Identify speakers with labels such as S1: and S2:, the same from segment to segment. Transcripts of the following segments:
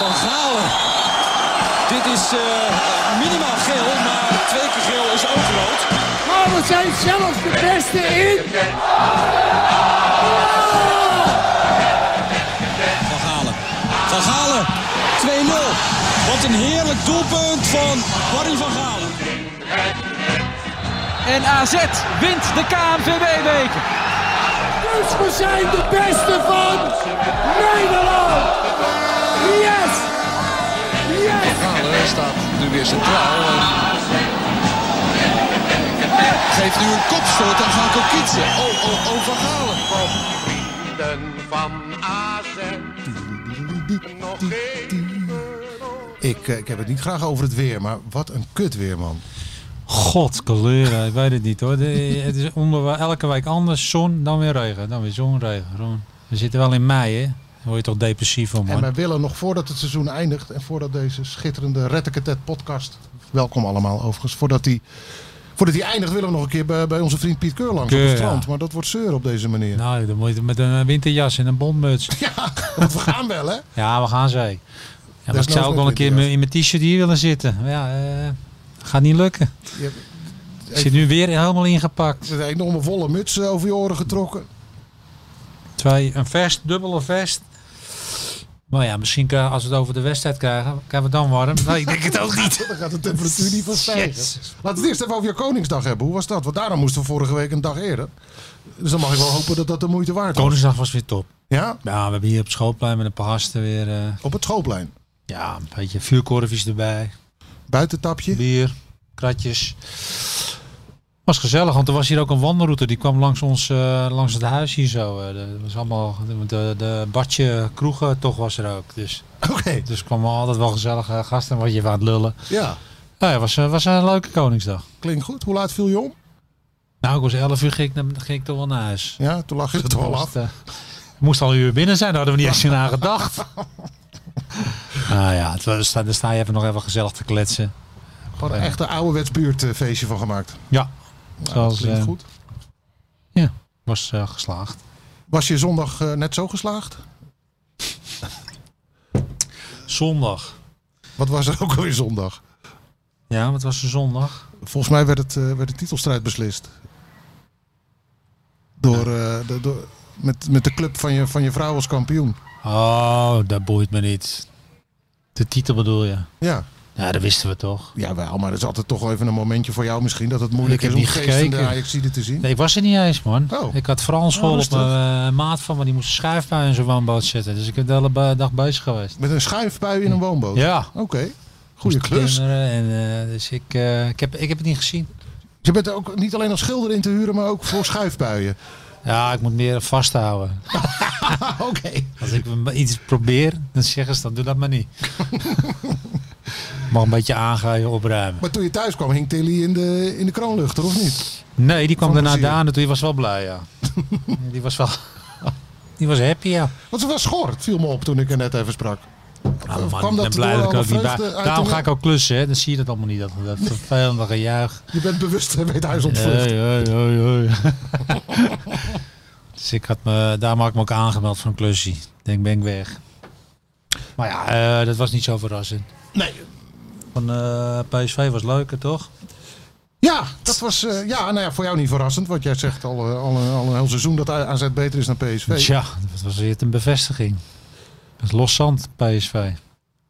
S1: Van Galen. Dit is uh, minimaal geel, maar twee keer geel is ook rood.
S2: Maar we zijn zelf de beste in.
S1: Van Galen. Van Galen. 2-0. Wat een heerlijk doelpunt van Barry van Galen.
S3: En AZ wint de KNVB-beker.
S2: Dus we zijn de beste van Nederland. Yes! Yes!
S4: Galen staat nu weer centraal. En geeft nu een kopstoot aan Van Kokitsen. Oh, oh, oh, Van Galen.
S5: van AZ. Nog
S6: Ik, eh, ik heb het niet graag over het weer, maar wat een kut weer, man.
S7: God, kleuren, ik weet het niet hoor. De- het is onder, elke week anders. Zon, dan weer regen. Dan weer zon, regen. zon. We zitten wel in mei, hè? Daar word je toch depressief van,
S6: En
S7: man.
S6: wij willen nog voordat het seizoen eindigt en voordat deze schitterende Rettekatet podcast, welkom allemaal overigens, voordat die, voordat die eindigt willen we nog een keer bij, bij onze vriend Piet Keur langs op
S7: Keur,
S6: het strand.
S7: ja.
S6: Maar dat wordt zeur op deze manier.
S7: Nou, dan moet je met een eh, winterjas en een bondmuts.
S6: Ja, want we gaan wel hè.
S7: Ja, we gaan zeker. Ja, maar ik
S6: Desnoods
S7: zou ook wel
S6: met
S7: een keer in mijn- in mijn t-shirt hier willen zitten. Maar ja, eh, gaat niet lukken.
S6: Je hebt
S7: Ik zit nu weer helemaal ingepakt.
S6: een enorme wollen muts eh, over je oren getrokken.
S7: Twee, een vest, dubbele vest. Maar ja, misschien kan- als we het over de wedstrijd krijgen, krijgen we het dan warm. Nee, ik denk het ook niet.
S6: Dan gaat de temperatuur niet van stijgen.
S7: Jezus.
S6: Laten we het eerst even over je Koningsdag hebben. Hoe was dat? Want daarom moesten we vorige week een dag eerder. Dus dan mag ik wel hopen dat dat de moeite waard was.
S7: Koningsdag was weer top.
S6: Ja,
S7: Ja, we hebben hier op het schoolplein met een paar gasten weer eh,
S6: op het schoolplein.
S7: ja, een beetje vuurkorfjes erbij.
S6: Buitentapje.
S7: Bier, kratjes. Was gezellig, want er was hier ook een wandelroute. Die kwam langs ons, eh, langs het huis hier zo. eh. dat was allemaal, de, de badje kroegen toch was er ook. Dus,
S6: Oké,
S7: dus kwamen altijd wel gezellige gasten. Wat je even aan het lullen.
S6: ja.
S7: Nou ja, was, eh, was een leuke Koningsdag.
S6: Klinkt goed. Hoe laat viel je om?
S7: Nou, ik was 11 uur, ging ik, naar- ging ik toch wel naar huis.
S6: Ja, toen lag je er toch wel af.
S7: moest, eh, moest al een uur binnen zijn, daar hadden we niet eens in aan gedacht. nou ja, het was- dan sta je even nog even gezellig te kletsen.
S6: Gewoon een echte ouderwets buurtfeestje van gemaakt. Nou,
S7: Ja,
S6: Dat
S7: zoals,
S6: klinkt
S7: eh,
S6: goed.
S7: ja was eh, geslaagd.
S6: Was je zondag eh, net zo geslaagd?
S7: Zondag.
S6: Wat was er ook alweer zondag?
S7: Ja, wat was de zondag?
S6: Volgens mij werd, het, eh, werd de titelstrijd beslist. Door, eh, de, door, met, met de club van je, van je vrouw als kampioen.
S7: Oh, dat boeit me niet. De titel bedoel je?
S6: Ja.
S7: Ja, dat wisten we toch.
S6: Jawel, maar dat is altijd toch wel even een momentje voor jou misschien. Dat het moeilijk
S7: Ik
S6: is
S7: heb
S6: om
S7: niet
S6: geestende
S7: gekeken.
S6: Ajaxide te zien.
S7: Nee, ik was er niet eens, man.
S6: Oh.
S7: Ik had vooral een school op
S6: rustig.
S7: mijn eh, maat van, maar die moest een schuifbui in zijn woonboot zetten. Dus ik heb de hele ba- dag bezig geweest.
S6: Met een schuifbui in een woonboot.
S7: Ja.
S6: Oké. Goeie
S7: Moest
S6: klus.
S7: Kinderen en, eh, dus ik, eh, ik, heb, ik heb het niet gezien.
S6: Je bent ook niet alleen als schilder in te huren, maar ook voor schuifbuien.
S7: Ja, ik moet meer vasthouden.
S6: Oké.
S7: Als ik iets probeer, dan zeggen ze dan doe dat maar niet. Mag een beetje aangaaien, opruimen.
S6: Maar toen je thuis kwam, hing Tilly in de, in de kroonluchter, of niet?
S7: Nee, die kwam
S6: Van
S7: daarna
S6: plezier.
S7: daar en die was wel blij, ja. die was wel... Die was happy, ja.
S6: Want ze was schor, het viel me op toen ik er net even sprak.
S7: Nou,
S6: Of
S7: man,
S6: kwam
S7: ik
S6: dat
S7: ben blij
S6: door
S7: dat ik
S6: alle
S7: ook niet bij...
S6: vreugde uit
S7: Daarom
S6: de-
S7: ga ik ook klussen, hè. Dan zie je dat allemaal niet, dat, dat vervelende gejuich.
S6: Je bent bewust bij het huis ontvlucht.
S7: Hoi, hoi, hoi, hoi. Dus ik had me... Daarom had ik me ook aangemeld voor een klusje. Ik denk, ben ik weg. Maar ja, eh, dat was niet zo verrassend.
S6: Nee.
S7: Van eh, PSV was leuker, toch?
S6: Ja, dat was eh, ja, nou ja, voor jou niet verrassend. Want jij zegt al, eh, al, een, al een heel seizoen dat AZ beter is dan PSV.
S7: Tja, dat was weer een bevestiging. Het loszand PSV.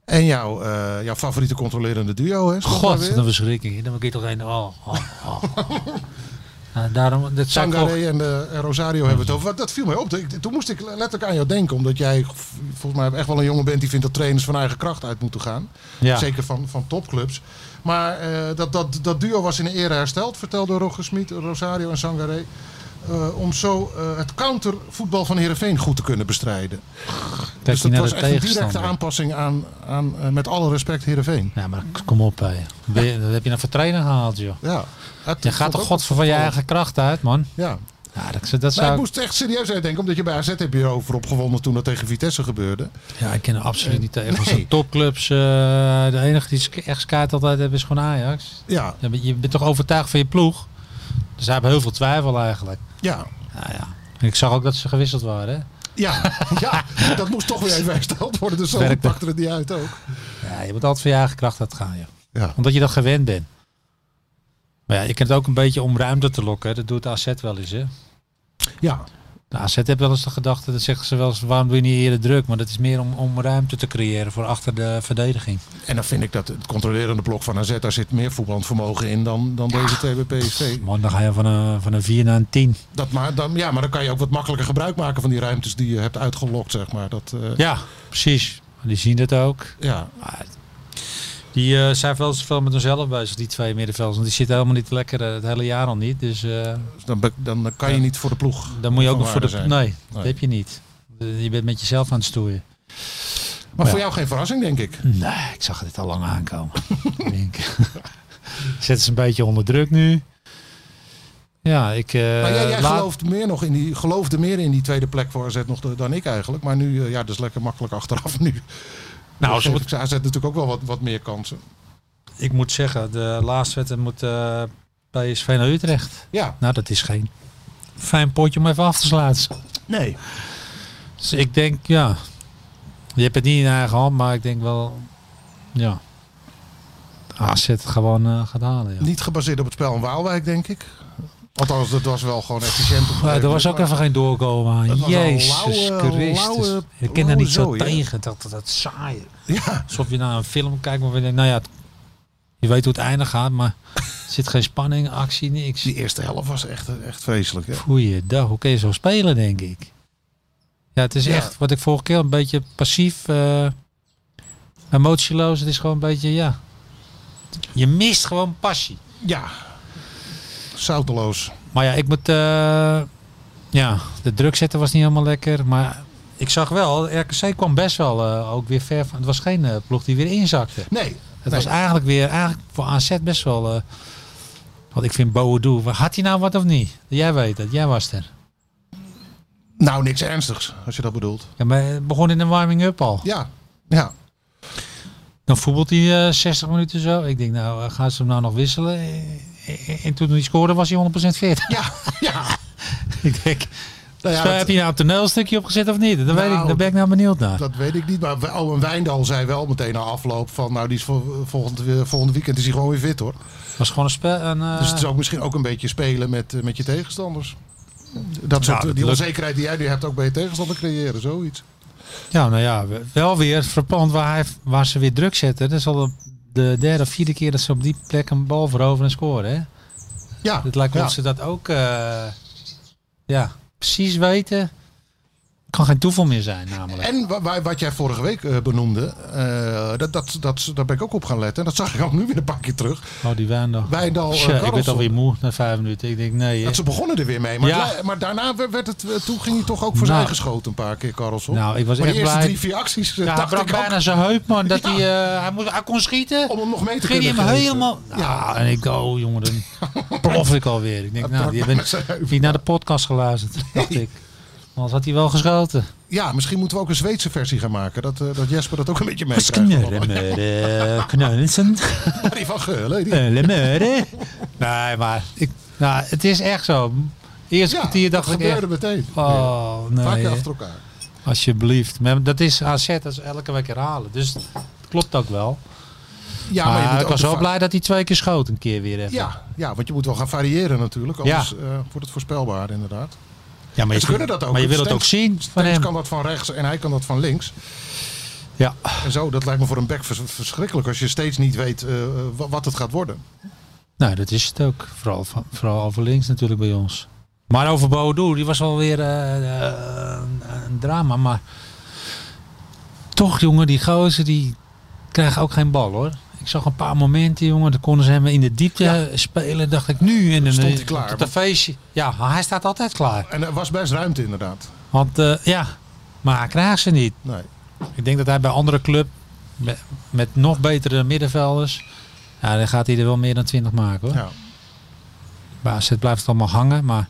S6: En jouw, eh, jouw favoriete controlerende duo, hè? stond daar
S7: God,
S6: weer.
S7: wat een verschrikking. Dan moet ik toch een... Oh, oh, oh. Nou, daarom, dat zou ik ook...
S6: Sangaré en, eh, en Rosario hebben het over. Dat viel mij op. Ik- Toen moest ik letterlijk aan jou denken. Omdat jij v- volgens mij echt wel een jongen bent die vindt dat trainers van eigen kracht uit moeten gaan.
S7: Ja.
S6: Zeker van, van topclubs. Maar eh, dat, dat, dat duo was in de ere hersteld, vertelde Roger Smit, Rosario en Sangaré. eh, om zo eh, het countervoetbal van Herenveen goed te kunnen bestrijden.
S7: Kijk
S6: dus dat
S7: je naar
S6: was
S7: de
S6: echt een directe
S7: tegenstander.
S6: aanpassing aan, aan eh, met alle respect, Herenveen.
S7: Ja, maar kom op, hé. Ben je- Dat heb je nou voor trainer gehaald, joh.
S6: Ja, Het-
S7: Je gaat
S6: vond
S7: toch
S6: ook-
S7: godver van je eigen kracht uit, man.
S6: Ja,
S7: Ja, dat, dat
S6: Maar ik
S7: zou...
S6: moest echt serieus uitdenken, omdat je bij AZ heb je erover opgewonden toen dat tegen Vitesse gebeurde.
S7: Ja, ik ken er absoluut niet tegen. Als
S6: nee.
S7: de topclubs... eh, de enige die sk- echt kaart altijd hebben is gewoon Ajax.
S6: Ja,
S7: Je bent, je bent toch overtuigd van je ploeg? Dus zij hebben heel veel twijfel eigenlijk.
S6: ja.
S7: Nou ja. En ik zag ook dat ze gewisseld waren, hè.
S6: Ja, ja, dat moest toch weer even hersteld worden. Dus zo
S7: Werkte.
S6: pakte het niet uit ook.
S7: Ja, je moet altijd van je eigen kracht uitgaan, ja.
S6: Ja.
S7: Omdat je dat gewend bent. Maar ja, je kent ook een beetje om ruimte te lokken. hè. Dat doet AZ wel eens, hè.
S6: Ja.
S7: De AZ heeft wel eens de gedachte, dat zeggen ze wel eens, waarom doe je niet eerder druk? Maar dat is meer om, om ruimte te creëren voor achter de verdediging.
S6: En dan vind ik dat het controlerende blok van AZ, daar zit meer voetballend vermogen in dan, dan deze twee bij PSV.
S7: Man, dan ga je van een, van een 4 naar een 10.
S6: Dat maar, dan, ja, maar dan kan je ook wat makkelijker gebruik maken van die ruimtes die je hebt uitgelokt, zeg maar. Dat, eh,
S7: Ja, precies. Die zien dat ook.
S6: ja.
S7: Die eh, zijn wel zoveel met hunzelf bezig, die twee middenvelders. Want die zitten helemaal niet lekker eh, het hele jaar al niet. Dus eh,
S6: Dus Dan, be- dan kan je niet voor de ploeg.
S7: dan moet je ook
S6: van
S7: nog voor de...
S6: waarde
S7: Nee,
S6: zijn.
S7: dat
S6: Nee.
S7: heb je niet. Eh, Je bent met jezelf aan het stoeien.
S6: Maar voor jou geen verrassing, denk ik.
S7: Nee, ik zag dit al lang aankomen. Ik denk, Zetten ze een beetje onder druk nu. Ja, ik... eh,
S6: Maar jij, jij
S7: laat-
S6: gelooft meer nog in die, geloofde meer in die tweede plek voor AZ nog de- dan ik eigenlijk. Maar nu, eh, ja, dat is lekker makkelijk achteraf nu.
S7: Nou,
S6: Nou,
S7: ze
S6: geef
S7: moet-
S6: ik ze AZ natuurlijk ook wel wat, wat meer kansen.
S7: ik moet zeggen, de laatste wedstrijd moet eh PSV naar Utrecht.
S6: Ja.
S7: Nou, dat is geen fijn potje om even af te sluiten.
S6: Nee.
S7: Dus ik denk, ja. Je hebt het niet in eigen hand, maar ik denk wel, ja. AZ het gewoon eh gaat halen, ja.
S6: Niet gebaseerd op het spel in Waalwijk, denk ik. Althans, dat was wel gewoon efficiënt. op-
S7: Ja, er was ook even geen doorkomen
S6: Het
S7: aan.
S6: was een
S7: Jezus
S6: lauwe-
S7: Christus.
S6: lauwe-
S7: ik ken daar
S6: lauwe
S7: niet zo
S6: zooi, hè?
S7: tegen. Dat, dat, dat saaie.
S6: Ja.
S7: Alsof je naar een film kijkt waarvan je denkt, nou ja, het- je weet hoe het einde gaat, maar er zit geen spanning, actie, niks.
S6: Die eerste helft was echt, eh, echt vreselijk. Ja.
S7: Goeiedag, hoe kun je zo spelen, denk ik. Ja, het is
S6: Ja.
S7: echt, wat ik vorige keer een beetje passief, eh, emotieloos. Het is gewoon een beetje, ja. Je mist gewoon passie.
S6: ja. Zouteloos.
S7: Maar ja, ik moet. eh, ja, de druk zetten was niet helemaal lekker. Maar ik zag wel, RKC kwam best wel eh, ook weer ver van. Het was geen eh, ploeg die weer inzakte.
S6: Nee.
S7: Het
S6: nee.
S7: was eigenlijk weer, eigenlijk voor AZ best wel. eh want ik vind Boadu, had hij nou wat of niet? Jij weet het, jij was er.
S6: Nou, niks ernstigs, als je dat bedoelt.
S7: Ja, maar het begon in de warming-up al.
S6: Ja. Ja.
S7: Dan voetbalt hij eh, 60 minuten zo. Ik denk, nou, eh, gaan ze hem nou nog wisselen? Eh, eh, En toen hij scoorde was hij 100% fit.
S6: Ja. Ja.
S7: ik denk,
S6: Nou ja,
S7: zo,
S6: dat-
S7: heb je nou een toneelstukje opgezet of niet? Dat weet
S6: Nou,
S7: ik, daar ben ik nou benieuwd naar.
S6: Dat weet ik niet, maar Owen Wijndal zei wel meteen na afloop van... nou, die is vol- volgend, eh, volgend weekend is hij gewoon weer fit, hoor.
S7: was gewoon een spel. Een, eh,
S6: Dus het is ook misschien ook een beetje spelen met, eh, met je tegenstanders. Dat soort, eh,
S7: dat
S6: die
S7: lukt.
S6: onzekerheid die jij nu hebt ook bij je tegenstander creëren, zoiets.
S7: Ja, nou ja, we- wel weer verpand waar, hij, waar ze weer druk zetten. Dat is al de- de derde of vierde keer dat ze op die plek een bal veroveren en scoren. Hè?
S6: Ja,
S7: Het lijkt
S6: ja.
S7: alsof ze dat ook eh, ja, precies weten. Kan geen toeval meer zijn, namelijk.
S6: En wa- wa- wat jij vorige week eh, benoemde, eh, dat, dat, dat, daar ben ik ook op gaan letten. En dat zag ik ook nu weer een pakje terug.
S7: Oh, die Wijndal.
S6: Wijndal, eh,
S7: Tja, ik werd
S6: Karlsson.
S7: alweer moe na vijf minuten. Ik denk, nee.
S6: Dat
S7: eh,
S6: ze begonnen er weer mee. Maar,
S7: Ja.
S6: het lij- maar daarna werd het, eh, toen ging hij toch ook voor
S7: Nou.
S6: zijn geschoten een paar keer, Karlsson.
S7: Nou, ik was
S6: maar
S7: echt
S6: de eerste
S7: blij.
S6: drie, vier acties eh,
S7: ja, hij
S6: dacht ik
S7: brak
S6: ook
S7: bijna zijn heup, man. Dat
S6: Ja.
S7: hij, eh, hij, moest, hij kon schieten.
S6: om hem nog mee te
S7: ging hij
S6: kunnen
S7: hem
S6: geven.
S7: helemaal... Ja, en ik, oh jongen, dan plof ik alweer. Ik denk,
S6: Hij
S7: nou,
S6: brak
S7: die
S6: bijna
S7: hebben
S6: zijn heup.
S7: niet naar de podcast geluisterd, dacht ik. Anders had hij wel geschoten.
S6: Ja, misschien moeten we ook een Zweedse versie gaan maken. Dat, eh, dat Jesper dat ook een beetje
S7: Was
S6: meekrijgt. allemaal.
S7: knurren, knurrensen,
S6: Barry van Geulen.
S7: Eh,
S6: die-
S7: lemmerren. Nee, maar ik, nou, het is echt zo. Eerst
S6: Ja,
S7: kwartier dacht
S6: dat
S7: ik echt,
S6: gebeurde meteen.
S7: eh, oh
S6: Vaak
S7: nee,
S6: achter elkaar.
S7: alsjeblieft. Maar dat is AZ, dat is elke week herhalen. Dus het klopt ook wel.
S6: Ja,
S7: maar
S6: moet
S7: ik
S6: ook
S7: was
S6: de
S7: wel
S6: va-
S7: blij dat hij twee keer schoot een keer weer even.
S6: Ja, ja, want je moet wel gaan variëren natuurlijk. Anders eh, wordt het voorspelbaar inderdaad.
S7: Ja, maar
S6: Ze kunnen dat ook.
S7: Maar je wil het ook
S6: Stenks-
S7: zien van
S6: Stenks
S7: hem.
S6: kan dat van rechts en hij kan dat van links.
S7: Ja.
S6: En zo, dat lijkt me voor een back vers- verschrikkelijk als je steeds niet weet eh, wa- wat het gaat worden.
S7: Nou, dat is het ook. Vooral, van, vooral over links natuurlijk bij ons. Maar over Bodo, die was wel weer eh, eh, een, een drama. Maar toch, jongen, die gozer die krijgen ook geen bal hoor. Ik zag een paar momenten, jongen, dan konden ze hem in de diepte spelen. Dacht ik nu in een
S6: Stond hij klaar,
S7: op
S6: want-
S7: een feestje. Ja, maar hij staat altijd klaar.
S6: En er was best ruimte inderdaad.
S7: Want eh, ja, maar hij krijgt ze niet.
S6: Nee.
S7: Ik denk dat hij bij andere club met, met nog betere middenvelders, ja, dan gaat hij er wel meer dan 20 maken hoor.
S6: Ja.
S7: Bij AZ blijft het allemaal hangen, maar...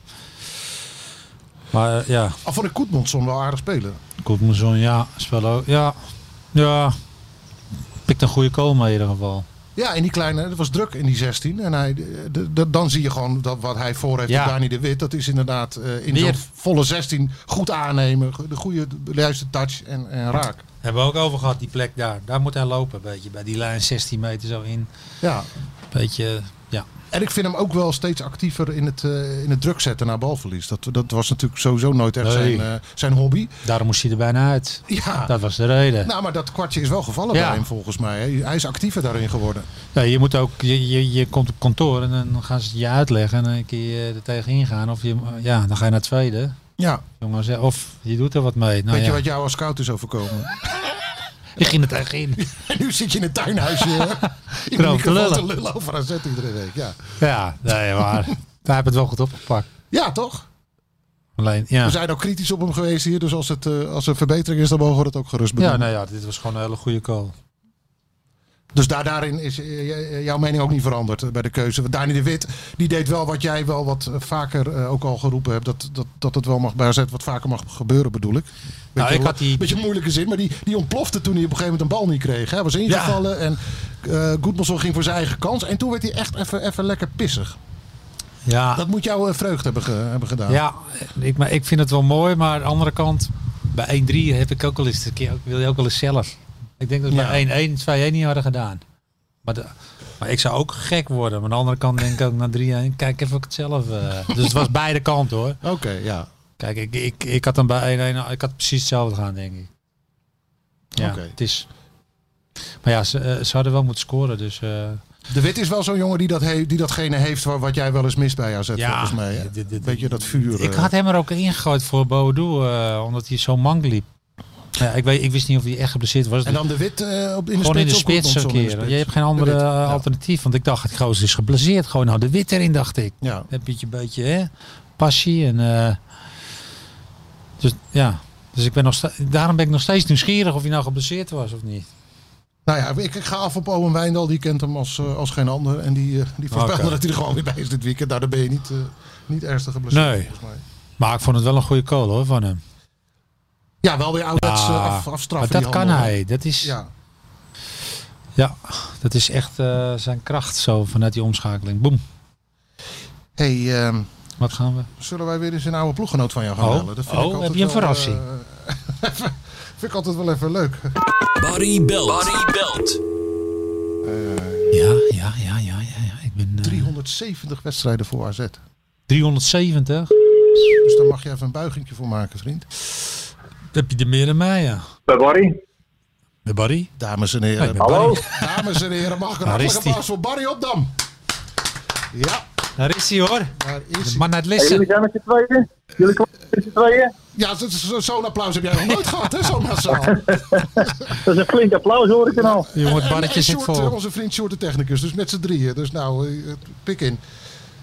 S7: Maar eh, ja,
S6: Al vond ik Koetmondson wel aardig spelen.
S7: Koepelzoen, ja, is wel ook... Ja, ja, pikt een goede kool mee in ieder geval.
S6: Ja, in die kleine, het was druk in die 16. En hij, de- de- dan zie je gewoon dat wat hij voor heeft,
S7: Ja.
S6: op Dani de Wit. Dat is inderdaad eh, in
S7: Weer.
S6: zo'n volle 16 goed aannemen. De goede, de juiste touch en, en raak.
S7: Hebben we ook over gehad, die plek daar. Daar moet hij lopen, een beetje. Bij die lijn 16 meter zo in.
S6: Ja.
S7: Beetje, eh, ja.
S6: En ik vind hem ook wel steeds actiever in het, eh, in het druk zetten naar balverlies. Dat, dat was natuurlijk sowieso nooit echt
S7: Nee.
S6: zijn, eh, zijn hobby.
S7: Daarom moest hij er bijna uit.
S6: Ja.
S7: Dat was de reden.
S6: Nou, maar dat kwartje is wel gevallen
S7: Ja.
S6: bij hem volgens mij. hè. Hij is actiever daarin geworden.
S7: Ja, je moet ook, je, je, je komt op kantoor en dan gaan ze het je uitleggen en dan kun je eh, er tegen ingaan. Of je, ja, dan ga je naar het tweede.
S6: Ja,
S7: Jongens, hè, of je doet er wat mee. Nou,
S6: weet
S7: ja.
S6: je wat jou als scout is overkomen?
S7: Ik ging er tegen in.
S6: En nu zit je in het tuinhuisje. hè? in de
S7: Erover te
S6: microfoon te
S7: lullen.
S6: lullen over AZ iedere week. Ja,
S7: Ja, nee, maar hij heeft het wel goed opgepakt.
S6: ja toch?
S7: Alleen, ja.
S6: We zijn ook kritisch op hem geweest hier. Dus als, het, eh, als er verbetering is, dan mogen we dat ook gerust
S7: Ja,
S6: benoemen.
S7: nou ja, dit was gewoon een hele goede call.
S6: Dus daar, daarin is eh, j- jouw mening ook niet veranderd eh, bij de keuze. Want Dani de Wit, die deed wel wat jij wel wat eh, vaker eh, ook al geroepen hebt. Dat, dat, dat het wel mag bij AZ wat vaker mag gebeuren, bedoel ik. Beetje,
S7: Nou, ik had die-
S6: beetje moeilijke zin, maar die, die ontplofte toen hij op een gegeven moment een bal niet kreeg. Hij was ingevallen en eh Goedmanson ging voor zijn eigen kans. En toen werd hij echt even, even lekker pissig.
S7: Ja,
S6: Dat moet jou eh, vreugd hebben, ge- hebben gedaan.
S7: Ah. ja ik, maar ik vind het wel mooi, maar aan de andere kant, bij 1-3 heb ik ook al eens, een keer- wil je ook wel eens zelf. Ik denk dat we
S6: Ja.
S7: bij 1-1, 2-1 niet hadden gedaan. Maar, de- maar ik zou ook gek worden. Maar aan de andere kant denk ik ook naar 3-1, kijk even of ik het zelf... eh, dus het was beide kanten hoor.
S6: Oké, ja.
S7: Kijk, ik, ik, ik had dan bij 1-1, ik had precies hetzelfde gaan denk ik. Ja,
S6: Oké.
S7: het is... Maar ja, ze, eh, ze hadden wel moeten scoren, dus... eh,
S6: De Wit is wel zo'n jongen die, dat he- die datgene heeft wa- wat jij wel eens mist bij AZ,
S7: Ja.
S6: volgens mij. hè?
S7: Dit- dit-
S6: Beetje dat vuur.
S7: Ik
S6: eh.
S7: had hem er ook ingegooid voor Boadu, omdat hij zo mank liep. Ja, ik, weet, ik wist niet of hij echt geblesseerd was.
S6: En dan de wit eh, op in de
S7: gewoon in
S6: spits.
S7: de
S6: ook
S7: spits een
S6: Goedmanson in de
S7: keer.
S6: spits.
S7: Je hebt geen andere
S6: De Wit,
S7: eh,
S6: ja.
S7: alternatief. Want ik dacht, het gozer is geblesseerd. Gewoon nou de wit erin, dacht ik.
S6: Ja.
S7: Een beetje, beetje hè, passie. En, eh, dus ja, dus ik ben nog sta- daarom ben ik nog steeds nieuwsgierig of hij nou geblesseerd was of niet.
S6: Nou ja, ik, ik ga af op Owen Wijndal. Die kent hem als, eh, als geen ander. En die, eh, die voorspelde
S7: Oké.
S6: dat hij er gewoon weer bij is dit weekend. Nou, daar ben je niet, eh, niet ernstig geblesseerd
S7: Nee.
S6: volgens mij.
S7: Maar ik vond het wel een goede call hoor, van hem.
S6: Ja, wel weer ouderwets eh,
S7: Ja,
S6: af, afstraffen.
S7: maar dat
S6: die
S7: kan
S6: handel.
S7: hij. Dat is, ja.
S6: Ja.
S7: dat is echt eh, zijn kracht zo vanuit die omschakeling. Boem,
S6: hey, ehm,
S7: wat gaan we?
S6: zullen wij weer eens een oude ploeggenoot van jou gaan
S7: Oh.
S6: bellen? Dat vind
S7: Oh,
S6: ik altijd
S7: heb je een
S6: wel,
S7: verrassing?
S6: eh, vind ik altijd wel even leuk.
S8: Barry belt. Barry belt.
S7: Ja, ja, ja, ja, ja. ja. Ik ben eh,
S6: 370 wedstrijden voor AZ.
S7: 370.
S6: Dus daar mag je even een buigingje voor maken, vriend.
S7: heb je er meer dan mij, ja.
S9: Bij Barry?
S7: De Barry?
S6: Dames en heren.
S7: Nee, met
S9: Hallo?
S7: Barry.
S6: Dames en heren, mag ik een
S7: Daar is
S6: hartelijk
S7: die.
S6: applaus voor Barry Opdam. Ja,
S7: Daar is hij hoor.
S6: daar is
S7: De
S6: hij.
S7: man uit
S9: Hey, jullie
S7: Lissen.
S9: zijn met z'n tweeën? Jullie komen met z'n tweeën?
S6: Ja, zo- zo- zo'n applaus heb jij nog nooit gehad, hè, zo massaal.
S9: Dat is een flink applaus hoor ik er al.
S7: Jongen, het
S6: En-
S7: barretje
S6: en
S7: zit
S6: Sjoerd, eh,
S7: vol.
S6: Onze vriend Sjoerd de technicus, dus met z'n drieën. Dus nou, eh, pik in.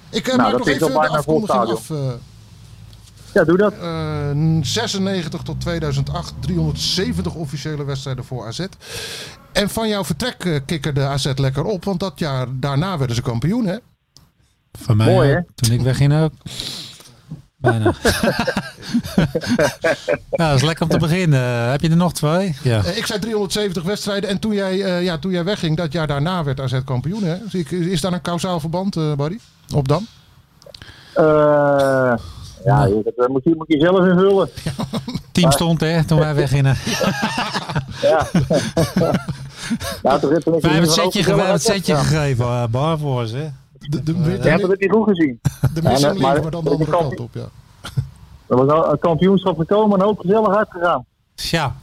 S6: Ik eh,
S9: Nou,
S6: maak
S9: dat
S6: nog
S9: is al
S6: even de
S9: bijna vol
S6: afkondiging af.
S9: Ja, doe dat.
S6: eh, eh, 96 tot 2008, 370 officiële wedstrijden voor AZ. En van jouw vertrek eh, kikkerde AZ lekker op, want dat jaar daarna werden ze kampioen, hè?
S7: Van mij
S9: Mooi,
S7: ook.
S9: hè?
S7: Toen ik wegging ook. Bijna. ja, Nou, dat is lekker om te beginnen. Eh, heb je er nog twee? Ja.
S6: Eh, Ik zei 370 wedstrijden en toen jij, eh, ja, toen jij wegging, dat jaar daarna werd AZ kampioen. Hè? Zie ik- Is daar een kausaal verband, eh, Barry? Op dan?
S9: Eh, ja, joh, dat eh, moet je, moet je zelf invullen.
S7: Team stond hè, toen wij weggingen.
S9: Ja. ja, toch heb je
S7: Wij hebben het setje, ge- wij hebben het setje gegeven. eh, Bar voor ons, hè.
S6: De, de,
S9: Ja, dat heb je goed gezien.
S6: de missing
S9: maar-
S6: liggen maar dan de andere kant op, ja.
S9: Er was al een kampioenschap gekomen en ook gezellig uitgegaan.
S7: Ja.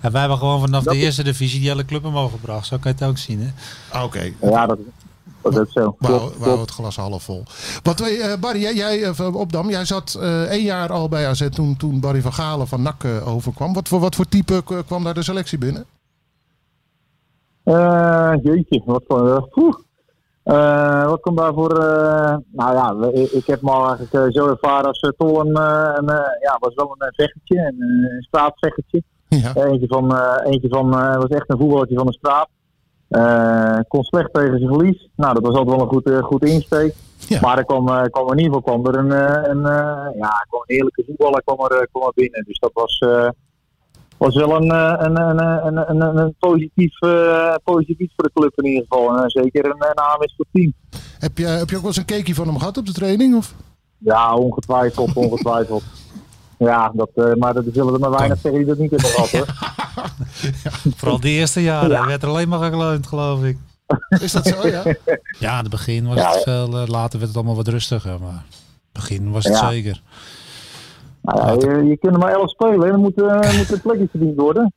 S7: En wij hebben gewoon vanaf
S9: Dat
S7: de
S9: is-
S7: eerste divisie die hele club omhoog gebracht. Zo kan je het ook zien, hè.
S6: Ah, Oké,
S9: Ja, dat, dat is
S6: we
S9: zo. Klopt,
S6: houden we houden
S9: klopt.
S6: het glas half vol. Wat, wij, eh, Barry, jij, jij eh, van Opdam, jij zat eh, één jaar al bij AZ toen, toen Barry van Galen van NAC eh, overkwam. Wat voor, wat voor type eh, kwam daar de selectie binnen?
S9: Eh, jeetje, wat voor... eh, poeh. Eh, wat komt daarvoor? eh, nou ja, we- ik, ik heb me al eigenlijk eh, zo ervaren als eh, Tol. Een, eh, een, eh, ja, was wel een eh, vechtertje, een, eh, een straatvechtertje.
S6: Ja,
S9: Eentje van, eh, eentje van eh, was echt een voetballertje van de straat. Eh, kon slecht tegen zijn verlies. Nou, dat was altijd wel een goed, eh, goed insteek.
S6: Ja.
S9: Maar er kwam, eh, kwam in ieder geval kwam er een, eh, een, eh, ja, kwam een heerlijke voetballer kwam er, eh, kwam er binnen. Dus dat was, eh, was wel een, eh, een, een, een, een, een positief, eh, positief iets voor de club in ieder geval. En eh, zeker een, een aanwinst voor het team.
S6: Heb je, heb je ook wel eens een cakeje van hem gehad op de training? Of?
S9: Ja, ongetwijfeld, ongetwijfeld. Ja, dat, eh, maar dat er zullen er maar weinig zeggen die dat niet hebben gehad hoor.
S7: Vooral de eerste jaren werd er alleen maar gekleund, geloof ik.
S6: Is dat zo, ja?
S7: Ja, in het begin was
S9: Ja,
S7: het
S9: ja.
S7: veel. eh, Later werd het allemaal wat rustiger. Maar in het begin was het
S9: Ja.
S7: zeker.
S9: Nou ja, je, je kunt er maar elf spelen en er moeten eh, moeten plekjes verdiend worden.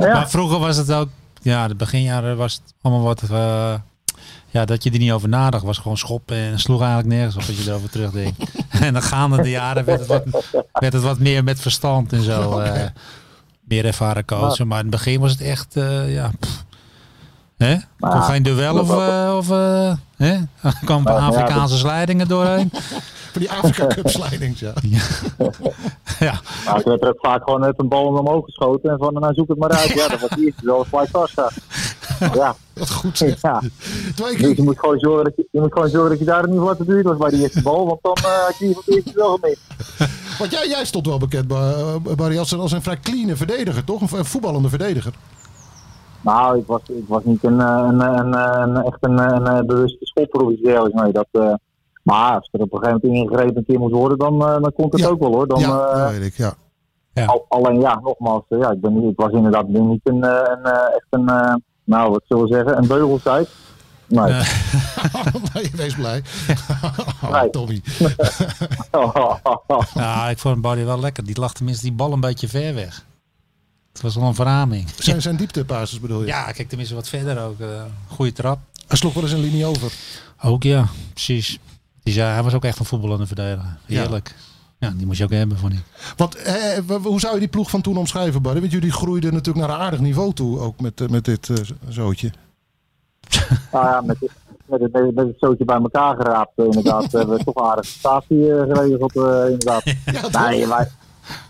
S9: Ja,
S7: Maar vroeger was het ook. Ja, de beginjaren was het allemaal wat. eh, ja, dat je er niet over nadacht. Was gewoon schoppen en sloeg eigenlijk nergens op als je erover terugdenkt. en dan gaande de jaren werd het, wat, werd het wat meer met verstand en zo. eh, meer ervaren coachen. Maar in het begin was het echt. eh, ja. pff. Hè? Kon geen duel of. eh, of eh, hè? Er kwamen
S9: ja,
S7: Afrikaanse slijdingen doorheen.
S6: Van die Afrika Cup slidings, ja.
S7: ja.
S9: maar ze werd er ook vaak gewoon net een bal omhoog geschoten en van nou zoek het maar uit. Ja, dat was die eerste wel gelijk vast. Ja,
S6: Wat goed zeg.
S9: ja.
S6: Twee
S9: Dus je
S6: keer.
S9: moet gewoon zorgen dat je, je, moet gewoon zorgen dat je daar in ieder geval te duur was bij die eerste bal, want dan eh, had je in ieder geval de eerste wel gemist.
S6: Want jij, jij stond wel bekend, Ba- eh, Barry, als een, als een vrij clean verdediger, toch? Een v- Een voetballende verdediger.
S9: Nou, ik was, ik was niet een, eh, een, een, een, een- echt een, een, eh, bewuste schopper of iets dergelijks. Nee, dat, eh, maar als er op een gegeven moment ingegrepen een keer moet worden, dan, eh, dan komt het
S6: Ja.
S9: ook wel hoor. Dan,
S6: ja,
S9: eh,
S6: dat weet ik, ja.
S9: al- alleen ja, nogmaals, eh, ja, ik, ben, niet- ik was inderdaad niet een, eh, een, eh, echt een, eh, nou wat zullen we zeggen, een beugeltijd. Nee,
S7: Nee.
S6: nee, wees blij. Oh,
S9: Nee.
S6: Tommy.
S9: Ah,
S7: Ja, ik vond Barry wel lekker. Die lag tenminste die bal een beetje ver weg. Het was al een verraming.
S6: Zijn, zijn dieptepases bedoel je?
S7: Ja, kijk tenminste wat verder ook. eh goede trap.
S6: Hij sloeg wel eens een linie over.
S7: Ook ja, precies. Die zei, hij was ook echt een voetballende verdediger.
S6: Ja.
S7: Heerlijk. Ja, die moest je ook hebben, vond ik.
S6: Want eh, w- hoe zou je die ploeg van toen omschrijven, Barry? Want jullie groeiden natuurlijk naar een aardig niveau toe, ook met, eh, met dit eh, zootje.
S9: nou ja, met, het- met, het- met, het- met het zootje bij elkaar geraapt eh, inderdaad, hebben we toch een aardige prestatie eh, geregeld eh, inderdaad.
S6: Ja, toch?
S9: Nee, wij,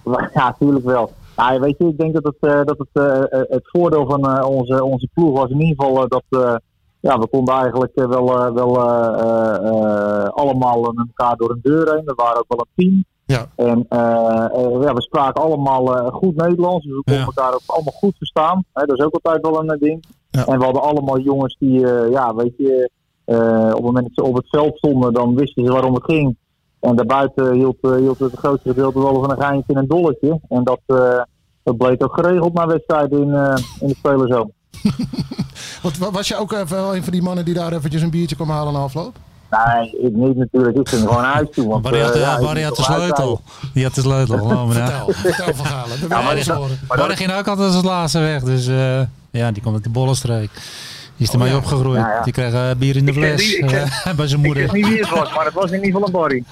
S9: wij- ja, natuurlijk wel. Ja, weet je, ik denk dat het, eh, dat het, eh, eh, het voordeel van eh, onze, onze ploeg was in ieder geval eh, dat eh, ja, we konden eigenlijk eh, wel, eh, wel eh, eh, eh, allemaal met elkaar door een deur heen. We waren ook wel een team.
S6: Ja.
S9: En eh, eh, ja, we spraken allemaal eh, goed Nederlands, dus we konden
S7: Ja.
S9: elkaar ook allemaal goed verstaan. Hè, dat is ook altijd wel een eh, ding.
S6: Ja.
S9: En we hadden allemaal jongens die, eh, ja, weet je, eh, op het moment dat ze op het veld stonden, dan wisten ze waarom het ging. En daarbuiten hield, eh, hield het grootste gedeelte wel van een geintje en een dolletje. En dat, eh, dat bleek ook geregeld na wedstrijden in, eh, in de spelerzoom.
S6: Want wa- was je ook even wel een van die mannen die daar eventjes een biertje kwam halen na afloop?
S9: Nee, ik niet natuurlijk. Ik ging gewoon uit toe. Want,
S7: Barry had,
S9: eh,
S7: eh,
S9: ja, ik
S7: Barry
S9: moest
S7: had de
S9: wel
S7: sleutel.
S9: uitrijden.
S7: Die had de sleutel. Oh, maar ja.
S6: Vertel, vertel van Galen. We willen
S7: maar
S6: alles
S7: dat-
S6: horen.
S7: Barry ging ook altijd als het laatste weg. Dus eh, ja, die komt uit de bollenstreek. Die is ermee opgegroeid.
S9: Ja, ja.
S7: Die kreeg eh, bier in de
S9: weet
S7: fles.
S9: niet, ik ken-
S7: eh, bij zijn
S9: Ik weet
S7: moeder.
S9: niet wie het was, maar het was in ieder geval een Barry.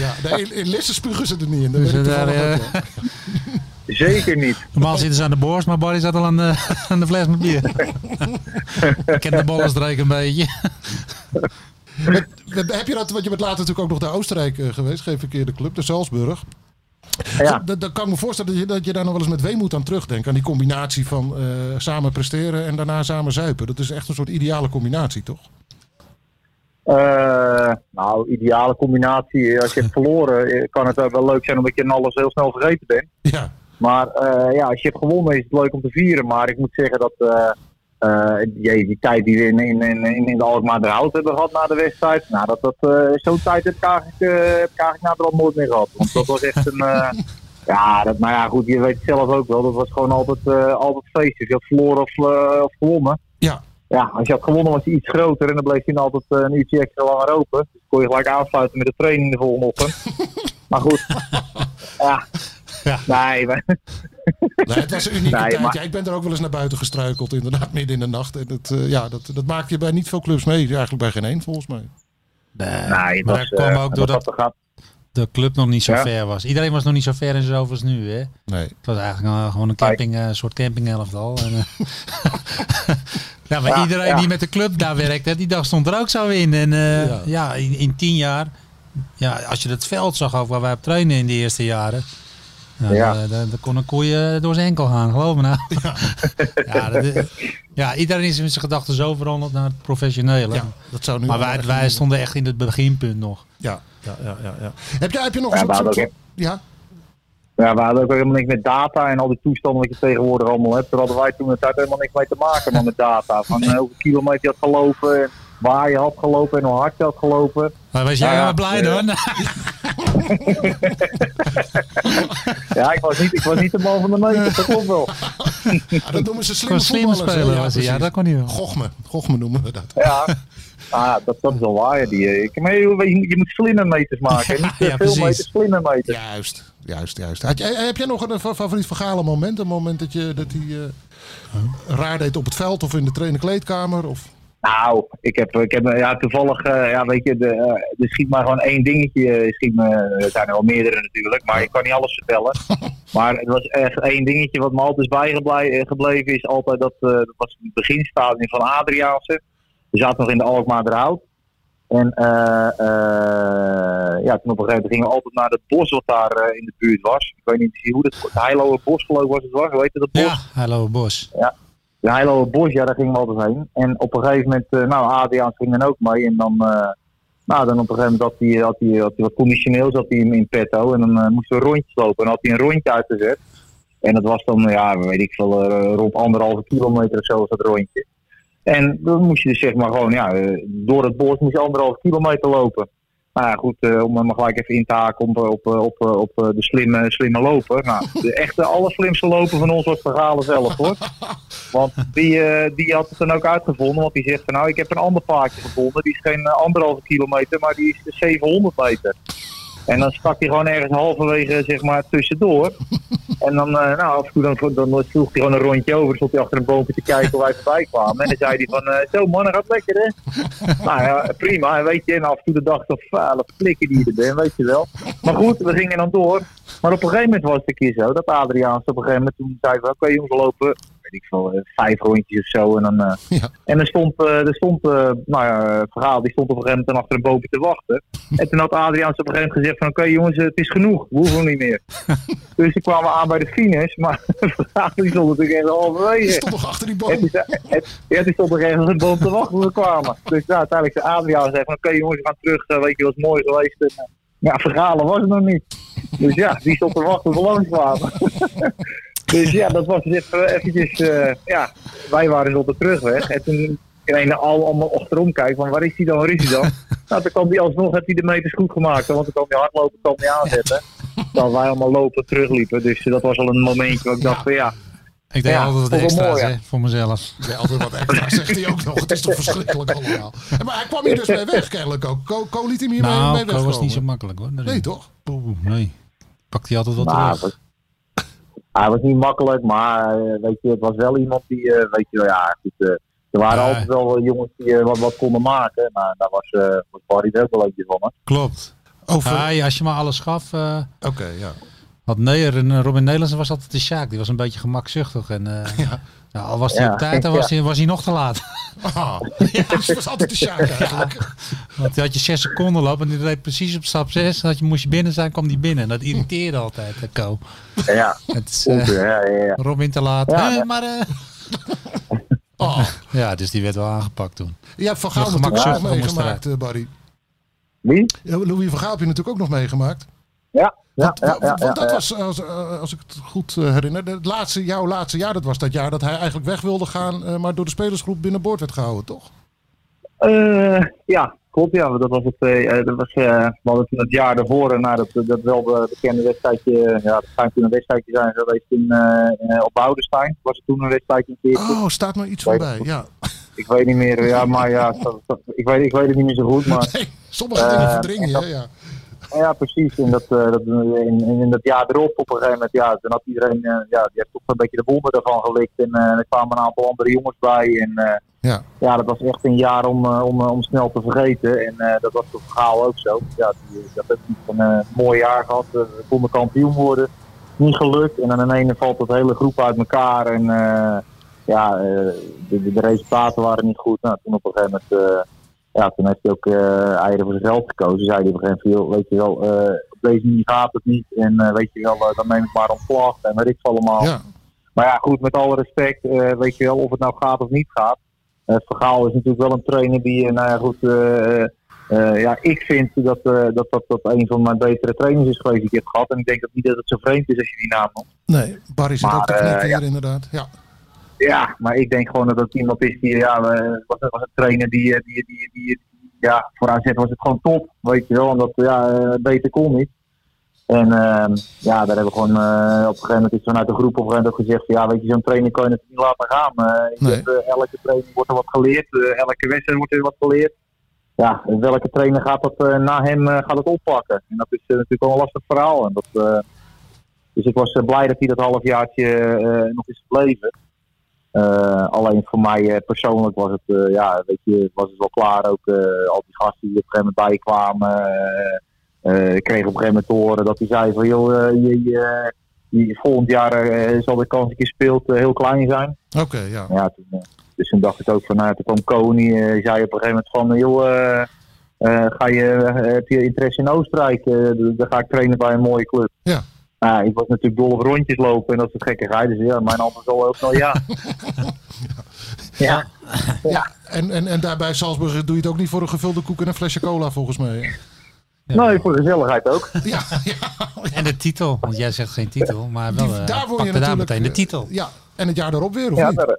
S6: Ja, nee, in, in Lisse spugen ze er niet in. Dat
S7: Dus
S6: weet ik
S7: daar,
S6: toevallig
S7: eh,
S6: ook, ja.
S9: Zeker niet.
S7: Normaal zitten ze aan de borst, maar Barry zat al aan de, aan de fles met bier. Ik ken de bollenstreek een beetje.
S6: Met- Heb je dat, want je bent later natuurlijk ook nog naar Oostenrijk eh, geweest, geen verkeerde club, de Salzburg.
S9: Ja,
S6: Dat, dat kan ik me voorstellen dat je, dat je daar nog wel eens met weemoed aan terugdenkt. Aan die combinatie van eh, samen presteren en daarna samen zuipen. Dat is echt een soort ideale combinatie, toch?
S9: eh, nou, ideale combinatie. Als je hebt verloren, eh, kan het ook wel leuk zijn omdat je in alles heel snel vergeten bent.
S6: Ja,
S9: Maar eh, ja, als je hebt gewonnen is het leuk om te vieren. Maar ik moet zeggen dat eh, eh, jee, die tijd die we in, in, in, in- in de Alkmaar de Hout hebben gehad na de wedstrijd. Nou, dat, dat, eh, zo'n tijd heb ik eigenlijk, eh, heb ik eigenlijk naderhand nooit meer gehad. Want dat was echt een... eh, ja, dat, maar ja, goed, je weet het zelf ook wel. Dat was gewoon altijd, eh altijd feestjes. Je had verloren of, eh, of gewonnen.
S6: Ja.
S9: Ja, als je had gewonnen was je iets groter en dan bleef je dan altijd eh, een uurtje extra langer open. Dus kon je gelijk aansluiten met de training de volgende ochtend. maar goed, ja.
S7: Ja.
S9: Nee, maar-
S6: nee, het was een unieke
S9: Nee,
S6: tijd.
S9: maar-
S6: Ja, ik ben er ook wel eens naar buiten gestruikeld, inderdaad, midden in de nacht. En dat, eh, ja, dat, dat maakt je bij niet veel clubs mee, eigenlijk bij geen één volgens mij.
S9: Nee, het
S7: Maar
S9: was,
S7: dat kwam
S9: eh,
S7: ook
S9: het
S7: doordat-
S9: was wat er gaat.
S7: de club nog niet zo
S9: Ja.
S7: ver was. Iedereen was nog niet zo ver in zijn hoofd als nu, hè?
S6: Nee.
S7: Het was eigenlijk eh, gewoon een camping, eh, soort campingelftal. En, eh, ja, maar
S9: Ja,
S7: iedereen
S9: ja.
S7: die met de club daar werkte, die dag stond er ook zo in. En eh,
S6: Ja.
S7: ja, in, in tien jaar, ja, als je het veld zag ook waar wij op trainen in de eerste jaren. Nou,
S9: Ja.
S7: ja. dan, dan kon een koeien door zijn enkel gaan, geloof me nou. Ja, dat is- ja, iedereen is in zijn gedachten zo veranderd naar het professionele.
S6: Ja, dat zou nu
S7: maar
S6: wel
S7: wij,
S6: echt
S7: wij
S6: niet-
S7: stonden echt in het beginpunt nog.
S6: Ja, ja, ja, ja. ja. Heb, jij, heb je nog
S9: Ja,
S6: eens
S9: maar
S6: zo'n-
S9: dat
S6: zo'n-
S9: heb-
S6: Ja?
S9: Ja, we hadden ook helemaal niks met data en al die toestanden wat je tegenwoordig allemaal hebt. Daar hadden wij toen het tijd helemaal niks mee te maken man, met data. Van eh, hoeveel kilometer je had gelopen, en waar je had gelopen en hoe hard je had gelopen.
S7: Maar was jij
S9: Ja, ja.
S7: wel blij
S9: Ja.
S7: dan?
S9: Ja, ik was niet, ik was niet de man van de meter, dat klopt wel.
S6: Ja, Ah, dat noemen ze slimme
S7: Gewoon slim
S6: voetballers. hè?
S7: spelen was hij. Ja,
S6: precies.
S7: dat kon hij wel.
S6: Gochme. Gochme noemen we dat.
S9: Ja, ah, ja, dat, dat is wel waar. ja, Die, eh, ik, maar je, je- je moet slimme meters maken. Niet te
S7: ja,
S9: veel
S7: precies.
S9: meters, slimme meters.
S6: Juist, juist, juist. Had jij- heb jij nog een fa- favoriet van Galen moment? Een moment dat, je, dat hij eh, raar deed op het veld of in de trainerkleedkamer? Of...
S9: Nou, ik heb, ik heb eh, ja, toevallig, eh, ja, weet je, de, eh, er schiet maar gewoon één dingetje. eh, Schiet me, er zijn er wel meerdere natuurlijk, maar ik kan niet alles vertellen. maar het was echt één dingetje wat me altijd is bijgebleven gebleven, is altijd dat, eh, dat was het beginstadium van Adriaanse. We zaten nog in de Alkmaarder Hout. En eh, eh, ja, toen op een gegeven moment gingen we altijd naar het bos wat daar eh, in de buurt was. Ik weet niet hoe dat, het Heiloe Bos geloof ik was het was, hoe heette dat bos?
S7: Ja, hallo Bos.
S9: De Heiloe Bos, ja, daar gingen we altijd heen. En op een gegeven moment, eh, nou, Adriaans ging dan ook mee. En dan, eh, nou, dan op een gegeven moment had hij, had hij, had hij wat conditioneels had hij hem in petto. En dan eh, moesten we rondjes lopen. En dan had hij een rondje uitgezet. En dat was dan, ja, weet ik veel, eh, rond anderhalve kilometer of zo was dat rondje. En dan moest je dus zeg maar gewoon, ja, eh, door het bos moest je anderhalve kilometer lopen. Nou ja, goed, eh, om hem maar gelijk even in te haken op, eh, op, eh, op, eh, op, eh, de slimme, slimme loper. Nou, de echte allerslimste loper van ons was Verhalen zelf hoor. Want die, eh, die had het dan ook uitgevonden. Want die zegt van nou, ik heb een ander paardje gevonden. Die is geen eh, anderhalve kilometer, maar die is 700 meter. En dan stak hij gewoon ergens halverwege zeg maar tussendoor. En dan, eh, nou, af en toe dan, dan sloeg hij gewoon een rondje over. Stond hij achter een boompje te kijken hoe wij voorbij kwamen. En dan zei hij van, eh, zo man, dat gaat lekker hè. nou ja, prima. En weet je, en af en toe de dag toch vuile flikker die je er bent, weet je wel. Maar goed, we gingen dan door. Maar op een gegeven moment was het een keer zo dat Adriaans op een gegeven moment toen zei van oké jongens we lopen weet ik veel, eh, vijf rondjes of zo. En dan, eh,
S6: Ja.
S9: en dan stond, eh, er stond eh, nou ja, het verhaal, die stond op een gegeven moment achter een boven te wachten. En toen had Adriaans op een gegeven moment gezegd van oké jongens, eh, het is genoeg, we hoeven niet meer. dus toen kwamen we aan bij de finish, maar verhaal die stond natuurlijk echt
S6: Je
S9: halverwege.
S6: stond nog achter die
S9: En
S6: boom.
S9: toen zei- en- ja, toen stond er ergens een boom te wachten toen we kwamen. Dus nou, uiteindelijk zei Adriaan zei van oké jongens, we gaan terug, eh, weet je, was mooi geweest. En, eh, ja, verhalen was het nog niet. Dus ja, die stond te wachten tot we langs kwamen. dus ja, dat was dus even, eventjes, eh, ja, wij waren dus op de terugweg. En toen iedereen al allemaal achterom kijken van waar is hij dan, waar is hij dan? nou, toen kwam hij alsnog, had hij de meters goed gemaakt. Want toen kwam hij hardlopen, kwam hij aanzetten. Terwijl wij allemaal lopen terugliepen. Dus dat was al een momentje waar ik dacht van ja,
S7: Ik deed
S9: Ja,
S7: altijd wat
S9: dat is wel
S7: extra's
S9: mooi,
S7: hè, voor mezelf.
S6: Ja, altijd wat extra, zegt hij ook nog. Het is toch verschrikkelijk allemaal. En Maar hij kwam hier dus mee weg, kennelijk ook. Ko, Ko liet hem hier mee-
S7: Nou,
S6: mee
S7: dat was
S6: wegkomen.
S7: niet zo makkelijk hoor.
S6: Nee, toch?
S7: Boe, nee. Pakt hij altijd wat
S9: Nou,
S7: terug.
S9: het was- Hij was niet makkelijk, maar eh, weet je, het was wel iemand die, eh, weet je, wel, ja, goed, eh, er waren
S7: Ja.
S9: altijd wel eh, jongens die eh, wat, wat konden maken. Nou, daar was, eh was Barry er ook wel eentje van. Hè.
S7: Klopt.
S6: Over...
S9: eh,
S7: Hij, als je maar alles gaf. eh,
S6: Ah, Oké, ja.
S7: had Neuer en eh, Robin Nederlands was altijd de Sjaak. Die was een beetje gemakzuchtig. En, eh, nou, al was hij
S9: Ja.
S7: op tijd, dan was, hij, was hij nog te laat.
S6: Ah, ja, dat was altijd de Sjaak eigenlijk.
S7: Want hij had je zes seconden lopen en die deed precies op stap zes. Dat je moest je binnen zijn, kwam die binnen. En dat irriteerde altijd, de Ko.
S9: Ja, ja,
S7: Het is, eh,
S9: goed, eh, ja, ja, ja.
S7: Robin te laat.
S9: Ja,
S7: Eh,
S9: ja.
S7: maar, eh.
S6: Oh,
S7: Ja, dus die werd wel aangepakt toen.
S6: je hebt Van Gaal
S7: Nog
S6: natuurlijk ook
S7: gemakzuchtig
S6: nog
S7: moest
S6: meegemaakt, eh, Barry.
S9: Wie?
S6: Ja, Louis van Gaal heb je natuurlijk ook nog meegemaakt.
S9: Ja, ja,
S6: Want,
S9: ja, ja,
S6: want
S9: ja,
S6: dat
S9: ja.
S6: was, als, eh, als ik het goed eh, herinner, het laatste, jouw laatste jaar, dat was dat jaar dat hij eigenlijk weg wilde gaan, eh, maar door de spelersgroep binnenboord werd gehouden, toch?
S9: Eh, ja, klopt. Ja, dat was het. eh, eh, dat was, eh, we hadden toen het jaar daarvoor, eh, na dat, dat wel be- bekende wedstrijdje, eh, ja, dat schijnt toen een wedstrijdje zijn geweest in, eh, eh, op Boudestein. Was het toen een wedstrijdje een keertje.
S6: Oh, staat maar iets
S9: Weet
S6: voorbij.
S9: ik.
S6: Ja.
S9: Ik weet niet meer, ja, maar ja, dat- dat- ik, weet, ik weet het niet meer zo goed, maar
S6: Nee, sommige
S9: Eh,
S6: dingen verdring je.
S9: en
S6: hè, Ja.
S9: ja, precies. In dat, eh, dat, in, in in dat jaar erop, op een gegeven moment, ja, dan had iedereen, eh, ja, die heeft toch een beetje de wonder daarvan gelikt en eh, er kwamen een aantal andere jongens bij en eh,
S6: Ja.
S9: ja, dat was echt een jaar om, eh, om, eh, om snel te vergeten en eh, dat was voor verhaal ook zo. Ja, die, eh, dat heeft natuurlijk een eh, mooi jaar gehad, we konden kampioen worden, niet gelukt en dan in ene valt dat hele groep uit elkaar en eh, ja, eh, de, de- de resultaten waren niet goed. Nou, toen op een gegeven moment... eh, ja, toen heeft hij ook eh eieren voor zichzelf gekozen. Zei hij op een gegeven moment, joh, weet je wel, eh, op deze manier gaat het niet. En eh, weet je wel, eh, dan neem ik maar ontslag en weet ik veel allemaal.
S6: Ja.
S9: Maar ja, goed, met alle respect, eh, weet je wel, of het nou gaat of niet gaat. Eh Vergaal is natuurlijk wel een trainer die, eh, nou ja, goed, eh, eh, Eh, ja, ik vind dat, eh, dat, dat dat een van mijn betere trainers is geweest die ik heb gehad. En ik denk ook niet dat het zo vreemd is als je die naam noemt.
S6: Nee, Barry zit
S9: Maar,
S6: ook te
S9: eh,
S6: knikken
S9: ja.
S6: hier inderdaad. Ja.
S9: Ja, maar ik denk gewoon dat het iemand is die, ja, eh, was, was een trainer die, eh, die, die, die, ja, voor AZ was het gewoon top, weet je wel. Omdat, ja, eh, beter kon niet. En ehm, ja, daar hebben we gewoon, eh, op een gegeven moment is vanuit de groep op een gegeven moment ook gezegd, van, ja, weet je, zo'n trainer kan je natuurlijk niet laten gaan. Eh, je
S6: Nee.
S9: hebt, eh, elke training wordt er wat geleerd, eh, elke wedstrijd wordt er wat geleerd. Ja, welke trainer gaat dat eh, na hem eh, gaat het oppakken? En dat is eh, natuurlijk wel een lastig verhaal. En dat, eh, dus ik was eh, blij dat hij dat halfjaartje eh, nog is gebleven. Eh, alleen voor mij eh, persoonlijk was het, eh, ja, weet je, was het wel klaar ook. eh, al die gasten die op een gegeven moment bijkwamen. eh, eh, ik kreeg op een gegeven moment te horen dat hij zei van, joh, eh, je, je, je- volgend jaar eh, zal de kans dat je speelt eh, heel klein zijn.
S6: Oké, ja.
S9: Ja, toen, eh, dus toen dacht ik ook van, nou, ja, toen kwam Koning, eh, zei op een gegeven moment van, eh, joh, eh, eh, ga je, heb je interesse in Oostenrijk? Eh, d- dan ga ik trainen bij een mooie club.
S6: Ja.
S9: Nou, ik was natuurlijk dol op rondjes lopen en dat soort gekkigheid. Dus ja, mijn antwoord was al heel snel ja. ja.
S6: En, en, en daarbij Salzburg doe je het ook niet voor een gevulde koek en een flesje cola volgens mij.
S9: Nee, voor de gezelligheid ook.
S6: Ja, ja.
S7: En de titel, want jij zegt geen titel, maar wel
S6: Die,
S7: eh,
S6: daar word je
S7: pakte daar
S6: natuurlijk...
S7: meteen de
S6: eh,
S7: titel.
S6: Ja, en het jaar daarop weer, of
S9: Ja,
S6: niet?
S9: daar, eh,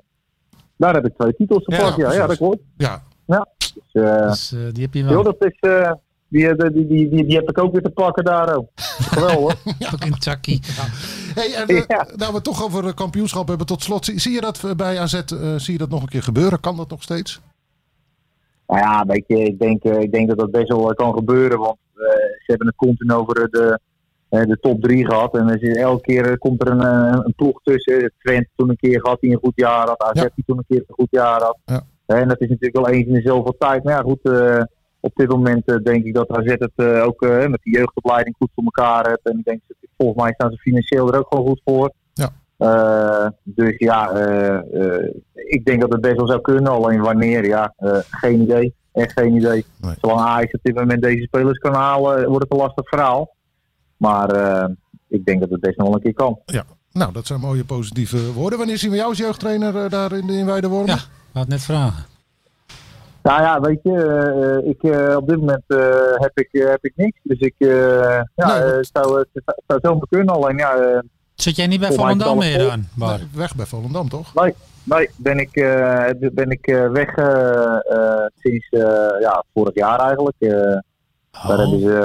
S9: daar heb ik twee titels gepakt. Ja, ja,
S6: precies.
S9: dat klopt.
S6: Ja,
S9: Dus, eh,
S7: Dus eh, die heb je
S9: joh,
S7: wel
S9: dat is, eh, die, die, die, die, die, die heb ik ook weer te pakken daar ook. Geweldig.
S7: ook in Chucky.
S6: Hey, en, eh,
S9: Ja.
S6: Nou, we het toch over eh, kampioenschap hebben tot slot. Zie, zie je dat eh, bij AZ eh, zie je dat nog een keer gebeuren? Kan dat nog steeds?
S9: Nou ja, weet je, ik denk, eh, ik denk dat dat best wel eh, kan gebeuren. Want eh, ze hebben het continu over eh, de, eh, de top drie gehad. En er is- elke keer eh, komt er een, eh, een ploeg tussen. Twente toen een keer gehad die een goed jaar had. AZ
S6: Ja.
S9: die toen een keer een goed jaar had. Eh,
S6: Ja.
S9: En dat is natuurlijk wel eens in de zoveel tijd. Maar ja, goed, eh, op dit moment eh, denk ik dat AZ het eh, ook eh, met de jeugdopleiding goed voor elkaar heeft. En ik denk, dat- volgens mij staan ze financieel er ook gewoon goed voor.
S6: Ja.
S9: Eh, dus ja, eh, eh, ik denk dat het best wel zou kunnen. Alleen wanneer, ja, eh, geen idee. Echt geen idee.
S6: Nee.
S9: Zolang Ajax op dit moment deze spelers kan halen, eh, wordt het een lastig verhaal. Maar eh, ik denk dat het best nog wel een keer kan.
S6: Nou, dat zijn mooie positieve woorden. Wanneer zien we jou als jeugdtrainer eh, daar in, in Weideworm?
S7: Ja, wou het net vragen.
S9: Nou ja, weet je, eh, eh, ik, eh, op dit moment eh, heb, ik, eh, heb ik niks. Dus ik eh,
S6: Nee,
S9: ja, eh, zou, eh, zou, zou zomaar kunnen. Alleen ja, eh,
S7: Zit jij niet bij
S9: Oh, maar ik
S7: Volendam
S9: kan het
S7: meer
S9: ook.
S7: aan, Bar?
S6: Nee, weg bij Volendam, toch?
S9: nee, ben ik, eh, ben ik eh, weg eh, eh, sinds eh, ja, vorig jaar eigenlijk. Eh, Daar, hebben
S6: Oh.
S9: ze, eh,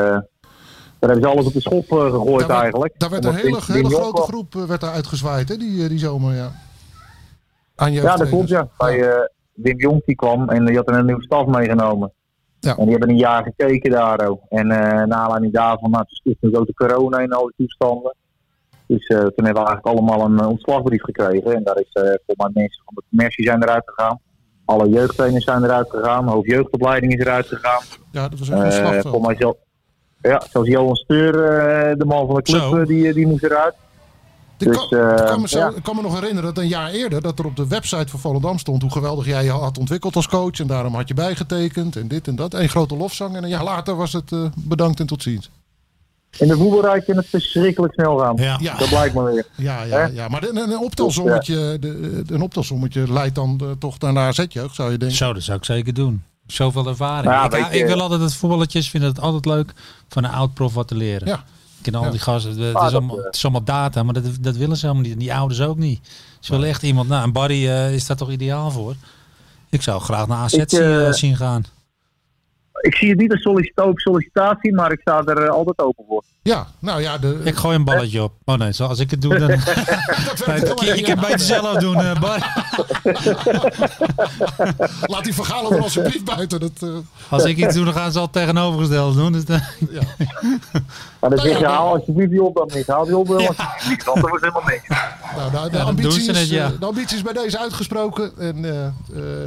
S9: daar hebben ze alles op de schop eh, gegooid
S6: Daar werd-
S9: eigenlijk.
S6: Daar werd een
S9: Omdat
S6: hele,
S9: Wim- Wim
S6: hele
S9: Jong
S6: grote
S9: kwam.
S6: groep eh, werd daar uitgezwaaid, hè, die, eh, die zomer, ja. Aan
S9: Ja, dat klopt
S6: jeugdtrainers.
S9: ja. Bij, eh, Wim Jong die kwam en die had een nieuwe staf meegenomen.
S6: Ja.
S9: En die hebben een jaar gekeken daar ook. En eh naar aanleiding daarvan, nou, toen stond natuurlijk ook de corona en al die toestanden. Dus eh, toen hebben we eigenlijk allemaal een eh, ontslagbrief gekregen. En daar is eh voor mij mensen van de commercie zijn eruit gegaan. Alle jeugdtrainers zijn eruit gegaan. Hoofdjeugdopleiding is eruit gegaan.
S6: Ja, dat was echt een
S9: Eh
S6: slagveld.
S9: voor mij zelf. Ja, zelfs Johan Steur, eh, de man van de club,
S7: Zo.
S9: eh, die, die moest eruit.
S6: Ik
S9: Dus,
S6: kan, ik
S9: eh,
S6: kan me zo-
S9: ja.
S6: ik kan me nog herinneren dat een jaar eerder dat er op de website van Volendam stond hoe geweldig jij je had ontwikkeld als coach. En daarom had je bijgetekend en dit en dat. Een grote lofzang. En een jaar later was het eh, bedankt en tot ziens.
S9: In de voetbalrijk kan het verschrikkelijk snel gaan.
S7: Ja.
S6: Ja,
S9: Dat blijkt maar weer.
S6: ja, ja. ja. Maar een, een optelsommetje, de, eh, een optelsommetje leidt dan eh, toch naar de AZ-jeugd, zou je denken.
S7: Zo, dat zou ik zeker doen. Zoveel ervaring.
S9: Ja,
S7: ik,
S9: weet
S7: hou-
S9: je-
S7: ik wil altijd dat voetballetjes, vind het altijd leuk van een oud prof wat te leren.
S6: Ja.
S7: Ik ken al
S6: Ja.
S7: die gasten, het,
S9: Ah,
S7: is
S9: dat,
S7: allemaal,
S9: eh.
S7: het is allemaal data, maar dat, dat willen ze helemaal niet. En die ouders ook niet. Ze willen echt iemand, nou, en Barry eh, is daar toch ideaal voor? Ik zou graag naar AZ
S9: Ik,
S7: zien,
S9: eh,
S7: eh, zien gaan.
S9: Ik zie het niet als sollicita- ook sollicitatie, maar ik sta er eh, altijd open voor.
S6: Ja, nou ja, de,
S7: Ik gooi een balletje op. Oh nee, zo, als ik het doe, dan... Nee, ik, ik heb bij zelf doen, eh, Barry.
S6: laat die verhalen er alsjeblieft buiten. Dat, eh,
S7: Als ik iets doe, dan gaan ze al tegenovergesteld doen. Dus, eh,
S9: Maar dan
S6: Nou ja,
S9: zeg je,
S6: maar-
S9: haal alsjeblieft die opdracht niet. Haal die opdracht niet, want dat wordt helemaal niks.
S6: Nou, de, de
S7: dan doen
S6: ambitie
S7: ze
S6: is,
S7: het, ja.
S6: eh, de ambitie is bij deze uitgesproken. En, eh, eh,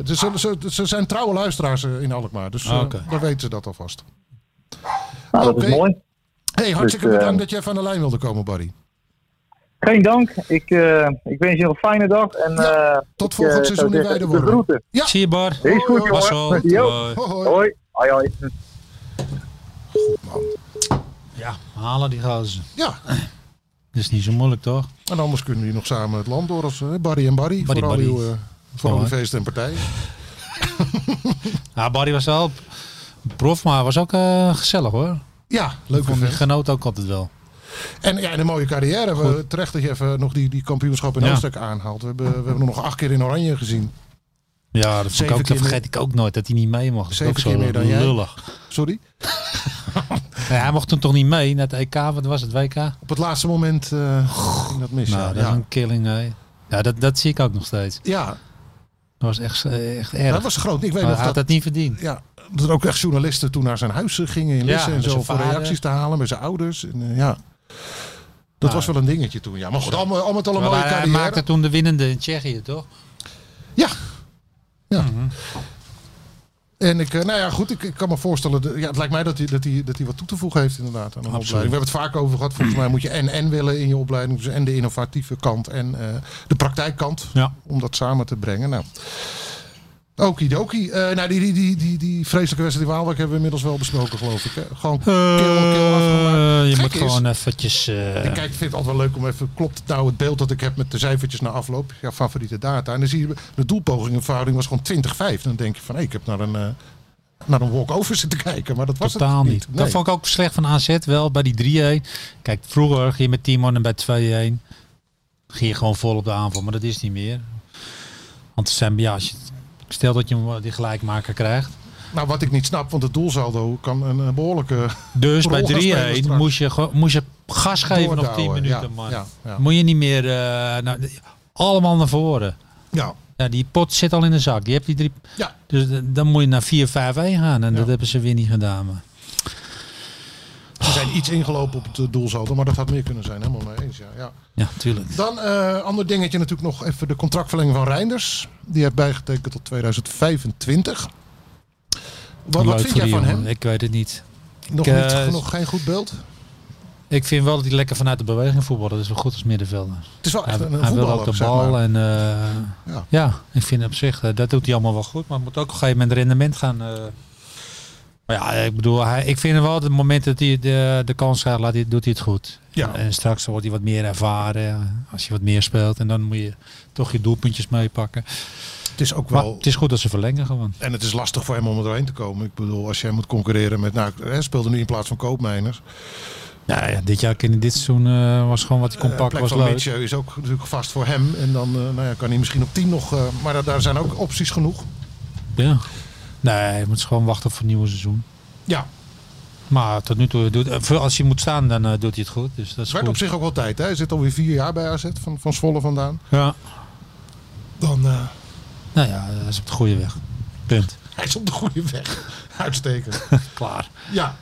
S6: ze, zullen- ze, ze zijn trouwe luisteraars eh, in Alkmaar. Dus eh,
S7: Ah, Oké.
S6: dan weten ze dat alvast.
S9: Nou, dat
S6: Oké.
S9: is mooi.
S6: hey, hartstikke
S9: Dus, eh,
S6: bedankt dat jij van de lijn wilde komen, Barry.
S9: Geen dank. Ik, eh, ik wens je nog een fijne dag. En,
S6: Ja,
S9: eh,
S6: tot
S9: ik,
S6: volgend
S9: eh,
S6: seizoen
S9: zou
S6: in
S9: zeggen,
S6: Weidewormen.
S9: De groeten.
S6: Ja.
S7: Zie je, Bar. eh,
S9: Is goed,
S7: Pas
S9: jongen.
S7: op.
S9: Jo.
S7: Hoi.
S6: Ho, hoi.
S9: Hoi. Hoi, hoi.
S7: Ja, halen die gazen.
S6: Ja,
S7: Dat is niet zo moeilijk, toch?
S6: en anders kunnen jullie nog samen het land door als eh, Barry en Barry.
S7: Barry,
S6: voor al
S7: Barry.
S6: uw, eh, voor al uw
S7: Mooi.
S6: feesten en partijen.
S7: Ja, Barry was wel Prof, maar was ook eh, gezellig hoor.
S6: Ja, leuk
S7: Vond ik
S6: vent.
S7: genoot ook altijd wel.
S6: En ja, en een mooie carrière. We, terecht dat je even nog die, die kampioenschap in
S7: Ja.
S6: Oostenrijk aanhaalt. We hebben, we hebben hem nog acht keer in Oranje gezien.
S7: Ja, dat, vond ik
S6: Zeven
S7: ook, dat
S6: keer
S7: vergeet ik ook nooit, dat hij niet mee mocht. Dat is
S6: Zeven
S7: ook zo
S6: keer meer dan jij.
S7: lullig.
S6: Sorry.
S7: Nee, hij mocht toen toch niet mee naar het EK, wat was het, WK?
S6: Op het laatste moment eh, ging dat mis.
S7: nou,
S6: ja.
S7: dat
S6: ja.
S7: is een killing. hè. Ja, dat, dat zie ik ook nog steeds.
S6: Ja,
S7: Dat was echt, eh, echt
S6: dat
S7: erg.
S6: was groot. Ik weet
S7: Maar hij
S6: nog
S7: had
S6: dat,
S7: dat niet verdiend.
S6: ja, dat er ook echt journalisten toen naar zijn huis gingen in
S7: Ja,
S6: Lisse en
S7: met
S6: zo
S7: zijn
S6: voor
S7: vader.
S6: reacties te halen met zijn ouders. En, eh, ja. Dat was wel een dingetje toen. Ja, maar goed, al, met- al met al een
S7: Maar
S6: mooie
S7: hij
S6: carrière.
S7: maakte toen de winnende in Tsjechië, toch?
S6: Ja. ja.
S7: Mhm.
S6: En ik, eh, nou ja, goed, ik, ik kan me voorstellen, de- ja, het lijkt mij dat hij, dat, hij, dat hij wat toe te voegen heeft inderdaad aan een
S7: Absoluut.
S6: opleiding. We hebben het vaak over gehad, volgens mij moet je en en willen in je opleiding, dus en de innovatieve kant en eh, de praktijkkant,
S7: Ja.
S6: om dat samen te brengen. Nou. Okidoki. Eh nou, die, die, die, die, die vreselijke wedstrijd in Waalwijk hebben we inmiddels wel besproken, geloof ik. Hè? Gewoon
S7: Eh.
S6: kil, kil afgemaakt.
S7: je
S6: Gek
S7: moet
S6: is,
S7: gewoon eventjes... eh,
S6: ik kijk, vind het altijd wel leuk om even. Klopt nou het beeld dat ik heb met de cijfertjes na afloop? Ja, favoriete data. En dan zie je de doelpogingenverhouding was gewoon 20-5. Dan denk je van hé, ik heb naar een, eh, naar een walk-over zitten kijken. Maar dat was
S7: Totaal
S6: het
S7: niet.
S6: niet. Nee.
S7: Dat vond ik ook slecht van AZ wel bij die 3-1. Kijk, vroeger ging je met 10 man en bij 2-1 ging je gewoon vol op de aanval, maar dat is niet meer. Want het zijn, ja, als je, stel dat je hem, eh, die gelijkmaker krijgt.
S6: Nou, wat ik niet snap, want het doelsaldo kan een eh, behoorlijke.
S7: Dus
S6: Rol gaan spelen
S7: bij 3-1
S6: straks.
S7: moest je, gewoon- moest je gas geven nog 10
S6: doordouwen.
S7: minuten,
S6: Ja,
S7: man.
S6: ja, ja.
S7: Moet je niet meer... eh, nou, allemaal naar voren.
S6: Ja,
S7: Ja, die pot zit al in de zak. Je hebt die drie,
S6: ja.
S7: dus d- dan moet je naar 4-5-1 gaan. En
S6: Ja.
S7: dat hebben ze weer niet gedaan. Maar.
S6: Ze zijn iets ingelopen op het eh, doelsaldo, maar dat had meer kunnen zijn. Helemaal mee eens. Ja, ja.
S7: Ja, tuurlijk.
S6: Dan eh ander dingetje natuurlijk nog even de contractverlenging van Reinders. Die heeft bijgetekend tot 2025. Wat,
S7: Leuk
S6: wat vind
S7: voor
S6: jij
S7: die
S6: van
S7: jongen.
S6: hem?
S7: Ik weet het niet.
S6: Nog,
S7: Ik,
S6: niet,
S7: eh,
S6: nog geen goed beeld?
S7: Ik vind wel dat hij lekker vanuit de beweging voetbalt. Dat is wel goed als middenvelder.
S6: Het is wel
S7: Hij,
S6: echt een, een
S7: hij wil
S6: voetballer,
S7: ook de
S6: zeg
S7: bal.
S6: maar.
S7: En, eh,
S6: Ja.
S7: ja. ik vind op zich, eh, dat doet hij allemaal wel goed. Maar het moet ook op een gegeven moment rendement gaan. eh. maar ja, ik bedoel, hij, ik vind wel dat het moment dat hij de, de kans krijgt, laat hij, doet hij het goed.
S6: Ja.
S7: En straks wordt hij wat meer ervaren. ja, Als je wat meer speelt. En dan moet je toch je doelpuntjes meepakken.
S6: Het is ook
S7: Maar
S6: wel...
S7: het is goed dat ze verlengen gewoon.
S6: En het is lastig voor hem om er doorheen te komen. Ik bedoel, als jij moet concurreren met... Nou, hij speelde nu in plaats van Koopmeiners.
S7: Ja, ja, dit jaar, in dit seizoen eh, was gewoon wat hij kon
S6: De
S7: pakken,
S6: plek
S7: was
S6: van
S7: leuk.
S6: Mitchell is ook natuurlijk vast voor hem. En dan eh, nou ja, kan hij misschien op 10 nog... eh, maar daar- daar zijn ook opties genoeg.
S7: Ja. Nee, je moet gewoon wachten op het nieuwe seizoen.
S6: Ja,
S7: Maar tot nu toe, doet, eh, voor als hij moet staan, dan eh, doet hij het goed. Dus dat is
S6: het werd
S7: goed.
S6: op zich ook wel tijd. Hè? Hij zit alweer vier jaar bij AZ van, van Zwolle vandaan.
S7: Ja.
S6: Dan, eh,
S7: Nou ja, dat is op de goede weg. Punt.
S6: hij is op de goede weg. Uitstekend.
S7: Klaar.
S6: Ja.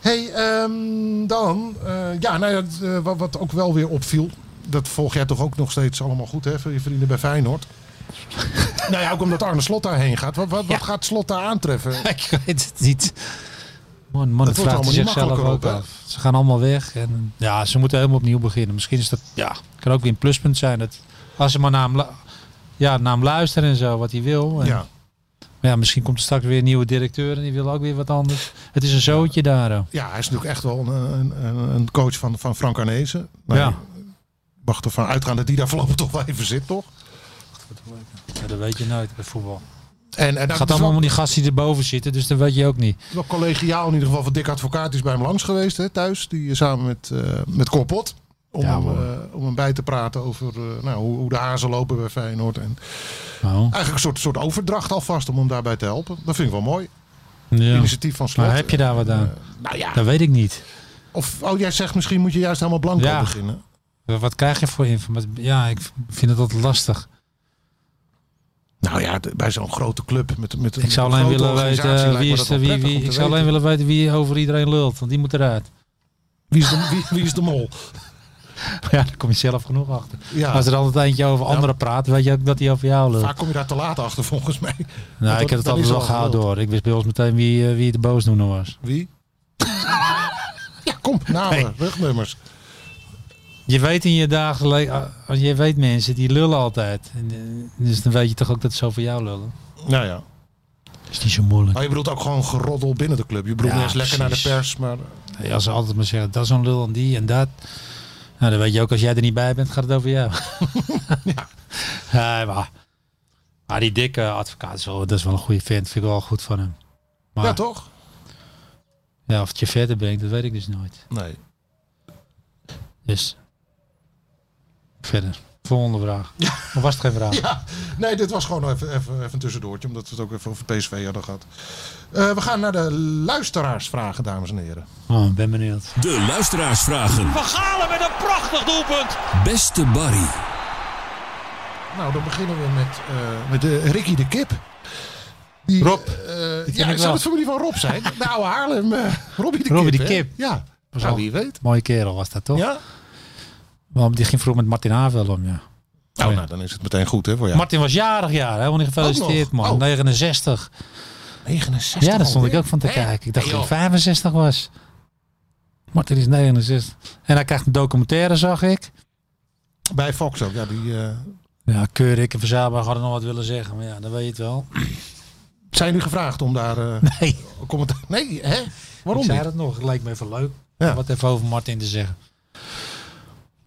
S6: Hey, ehm, dan. eh, ja, nou ja, het, eh, wat, wat ook wel weer opviel. Dat volg jij toch ook nog steeds allemaal goed, hè? Voor je vrienden bij Feyenoord. nou ja, ook omdat Arne Slot daarheen gaat. Wat, wat, wat gaat Slot daar aantreffen?
S7: Ik weet het niet. Man, man
S6: Het
S7: het
S6: wordt
S7: vraagt
S6: allemaal niet
S7: zichzelf
S6: makkelijker
S7: ook
S6: ook, hè?
S7: af. Ze gaan allemaal weg. En, ja, ze moeten helemaal opnieuw beginnen. Misschien is dat, ja, kan ook weer een pluspunt zijn. Dat, als ze maar naar hem, lu- ja, naar hem luisteren en zo, wat hij wil. En,
S6: Ja.
S7: Maar ja, misschien komt er straks weer een nieuwe directeur en die wil ook weer wat anders. Het is een zootje daar. hè.
S6: ja, hij is natuurlijk echt wel een, een, een- een coach van, van Frank Arnezen. Nou,
S7: Ja.
S6: ik Mag ervan uitgaan dat die daar voorlopig toch wel even zit, toch?
S7: Ja, dat weet je nooit bij voetbal.
S6: En, en
S7: Het
S6: nou,
S7: gaat
S6: het is
S7: allemaal
S6: wel,
S7: om die gasten die erboven zitten, dus dat weet je ook niet.
S6: wel collegiaal in ieder geval van Dick Advocaat is bij hem langs geweest, hè, thuis. Die eh, samen met, eh met Corpot. Om,
S7: Ja,
S6: hem,
S7: hoor.
S6: eh, om hem bij te praten over eh, nou, hoe, hoe de hazen lopen bij Feyenoord. En
S7: Oh.
S6: Eigenlijk een soort, soort overdracht alvast om hem daarbij te helpen. Dat vind ik wel mooi.
S7: Ja.
S6: Initiatief van Slot.
S7: Maar heb je daar wat aan?
S6: Nou ja.
S7: Dat weet ik niet.
S6: Of oh, jij zegt misschien moet je juist helemaal blanco
S7: Ja.
S6: beginnen.
S7: Wat krijg je voor informatie? Ja, ik vind het altijd lastig.
S6: Nou ja, de- bij zo'n grote club met, met een
S7: Ik zou alleen
S6: grote
S7: willen
S6: organisatie
S7: weten eh,
S6: lijkt
S7: wie
S6: me
S7: is
S6: dat
S7: de,
S6: wel
S7: wie,
S6: prettig
S7: wie,
S6: om te
S7: ik zou alleen
S6: weten.
S7: willen weten wie over iedereen lult, want die moet eruit.
S6: Wie is de, wie, wie is de mol?
S7: Ja, daar kom je zelf genoeg achter.
S6: Ja.
S7: Als er altijd eentje over anderen praat, weet je ook dat hij over jou lult.
S6: Vaak kom je daar te laat achter volgens mij.
S7: nou,
S6: dat-
S7: ik heb het
S6: dat
S7: altijd
S6: is
S7: wel
S6: al
S7: gauw
S6: geluld.
S7: door. Ik wist bij ons meteen wie, eh, wie de boosdoener was.
S6: Wie? ja, kom, namen, rugnummers.
S7: Je weet in je dagelijks, je weet mensen die lullen altijd. En, eh, Dus dan weet je toch ook dat ze over jou lullen.
S6: Nou ja.
S7: Dat is niet zo moeilijk.
S6: Maar je bedoelt ook gewoon geroddel binnen de club. Je bedoelt
S7: Ja,
S6: niet eens lekker naar de
S7: precies.
S6: pers, maar
S7: Ja, als ze altijd maar zeggen, dat is zo'n lul en die en dat. Nou, dan weet je ook, als jij er niet bij bent, gaat het over jou. ja. maar, maar die dikke advocaat, is wel- dat is wel een goede vent. Vind ik wel goed van hem. Maar
S6: Ja,
S7: ja,
S6: toch?
S7: of het je verder brengt, dat weet ik dus nooit.
S6: Nee.
S7: Dus verder. Volgende vraag. Of was het geen vraag?
S6: Ja, nee, dit was gewoon even, even, even een tussendoortje, omdat we het ook even over PSV hadden gehad. Eh, we gaan naar de luisteraarsvragen, dames en heren.
S7: Oh, ik ben benieuwd.
S8: De luisteraarsvragen.
S3: Van Galen met een prachtig doelpunt.
S8: Beste Barry.
S6: Nou, dan beginnen we met, eh, met eh, Ricky de Kip. Die,
S7: Rob,
S6: eh,
S7: ken
S6: ja, zou
S7: ik wel.
S6: het familie van Rob zijn? De oude Haarlem, eh Robbie de
S7: Robbie
S6: Kip.
S7: de
S6: hè?
S7: Kip.
S6: Ja,
S7: Was
S6: nou,
S7: al-
S6: wie weet.
S7: Mooie kerel was dat toch?
S6: Ja? Oh,
S7: Want die ging vroeger met Martin Havel om, ja.
S6: Nou,
S7: ja.
S6: nou, dan is het meteen goed hè, voor jou.
S7: Martin was jarig, ja. Helemaal niet
S6: Ook nog?
S7: gefeliciteerd, man.
S6: Oh.
S7: 69.
S6: 69
S7: Ja, daar stond ik
S6: alweer.
S7: ook van te
S6: Hè?
S7: kijken. Ik dacht
S6: Nee,
S7: dat
S6: joh.
S7: hij 65 was. Martin is 69. En hij krijgt een documentaire, zag ik.
S6: Bij Fox ook, ja. Die, eh,
S7: Ja, Keurig en Verzaberg hadden nog wat willen zeggen. Maar ja, dan weet je het wel.
S6: zijn nu gevraagd om daar eh,
S7: Nee,
S6: commentaar... Nee, hè? Waarom
S7: ik zei
S6: niet?
S7: dat nog. Het leek me even leuk
S6: Ja.
S7: om wat even over Martin te zeggen.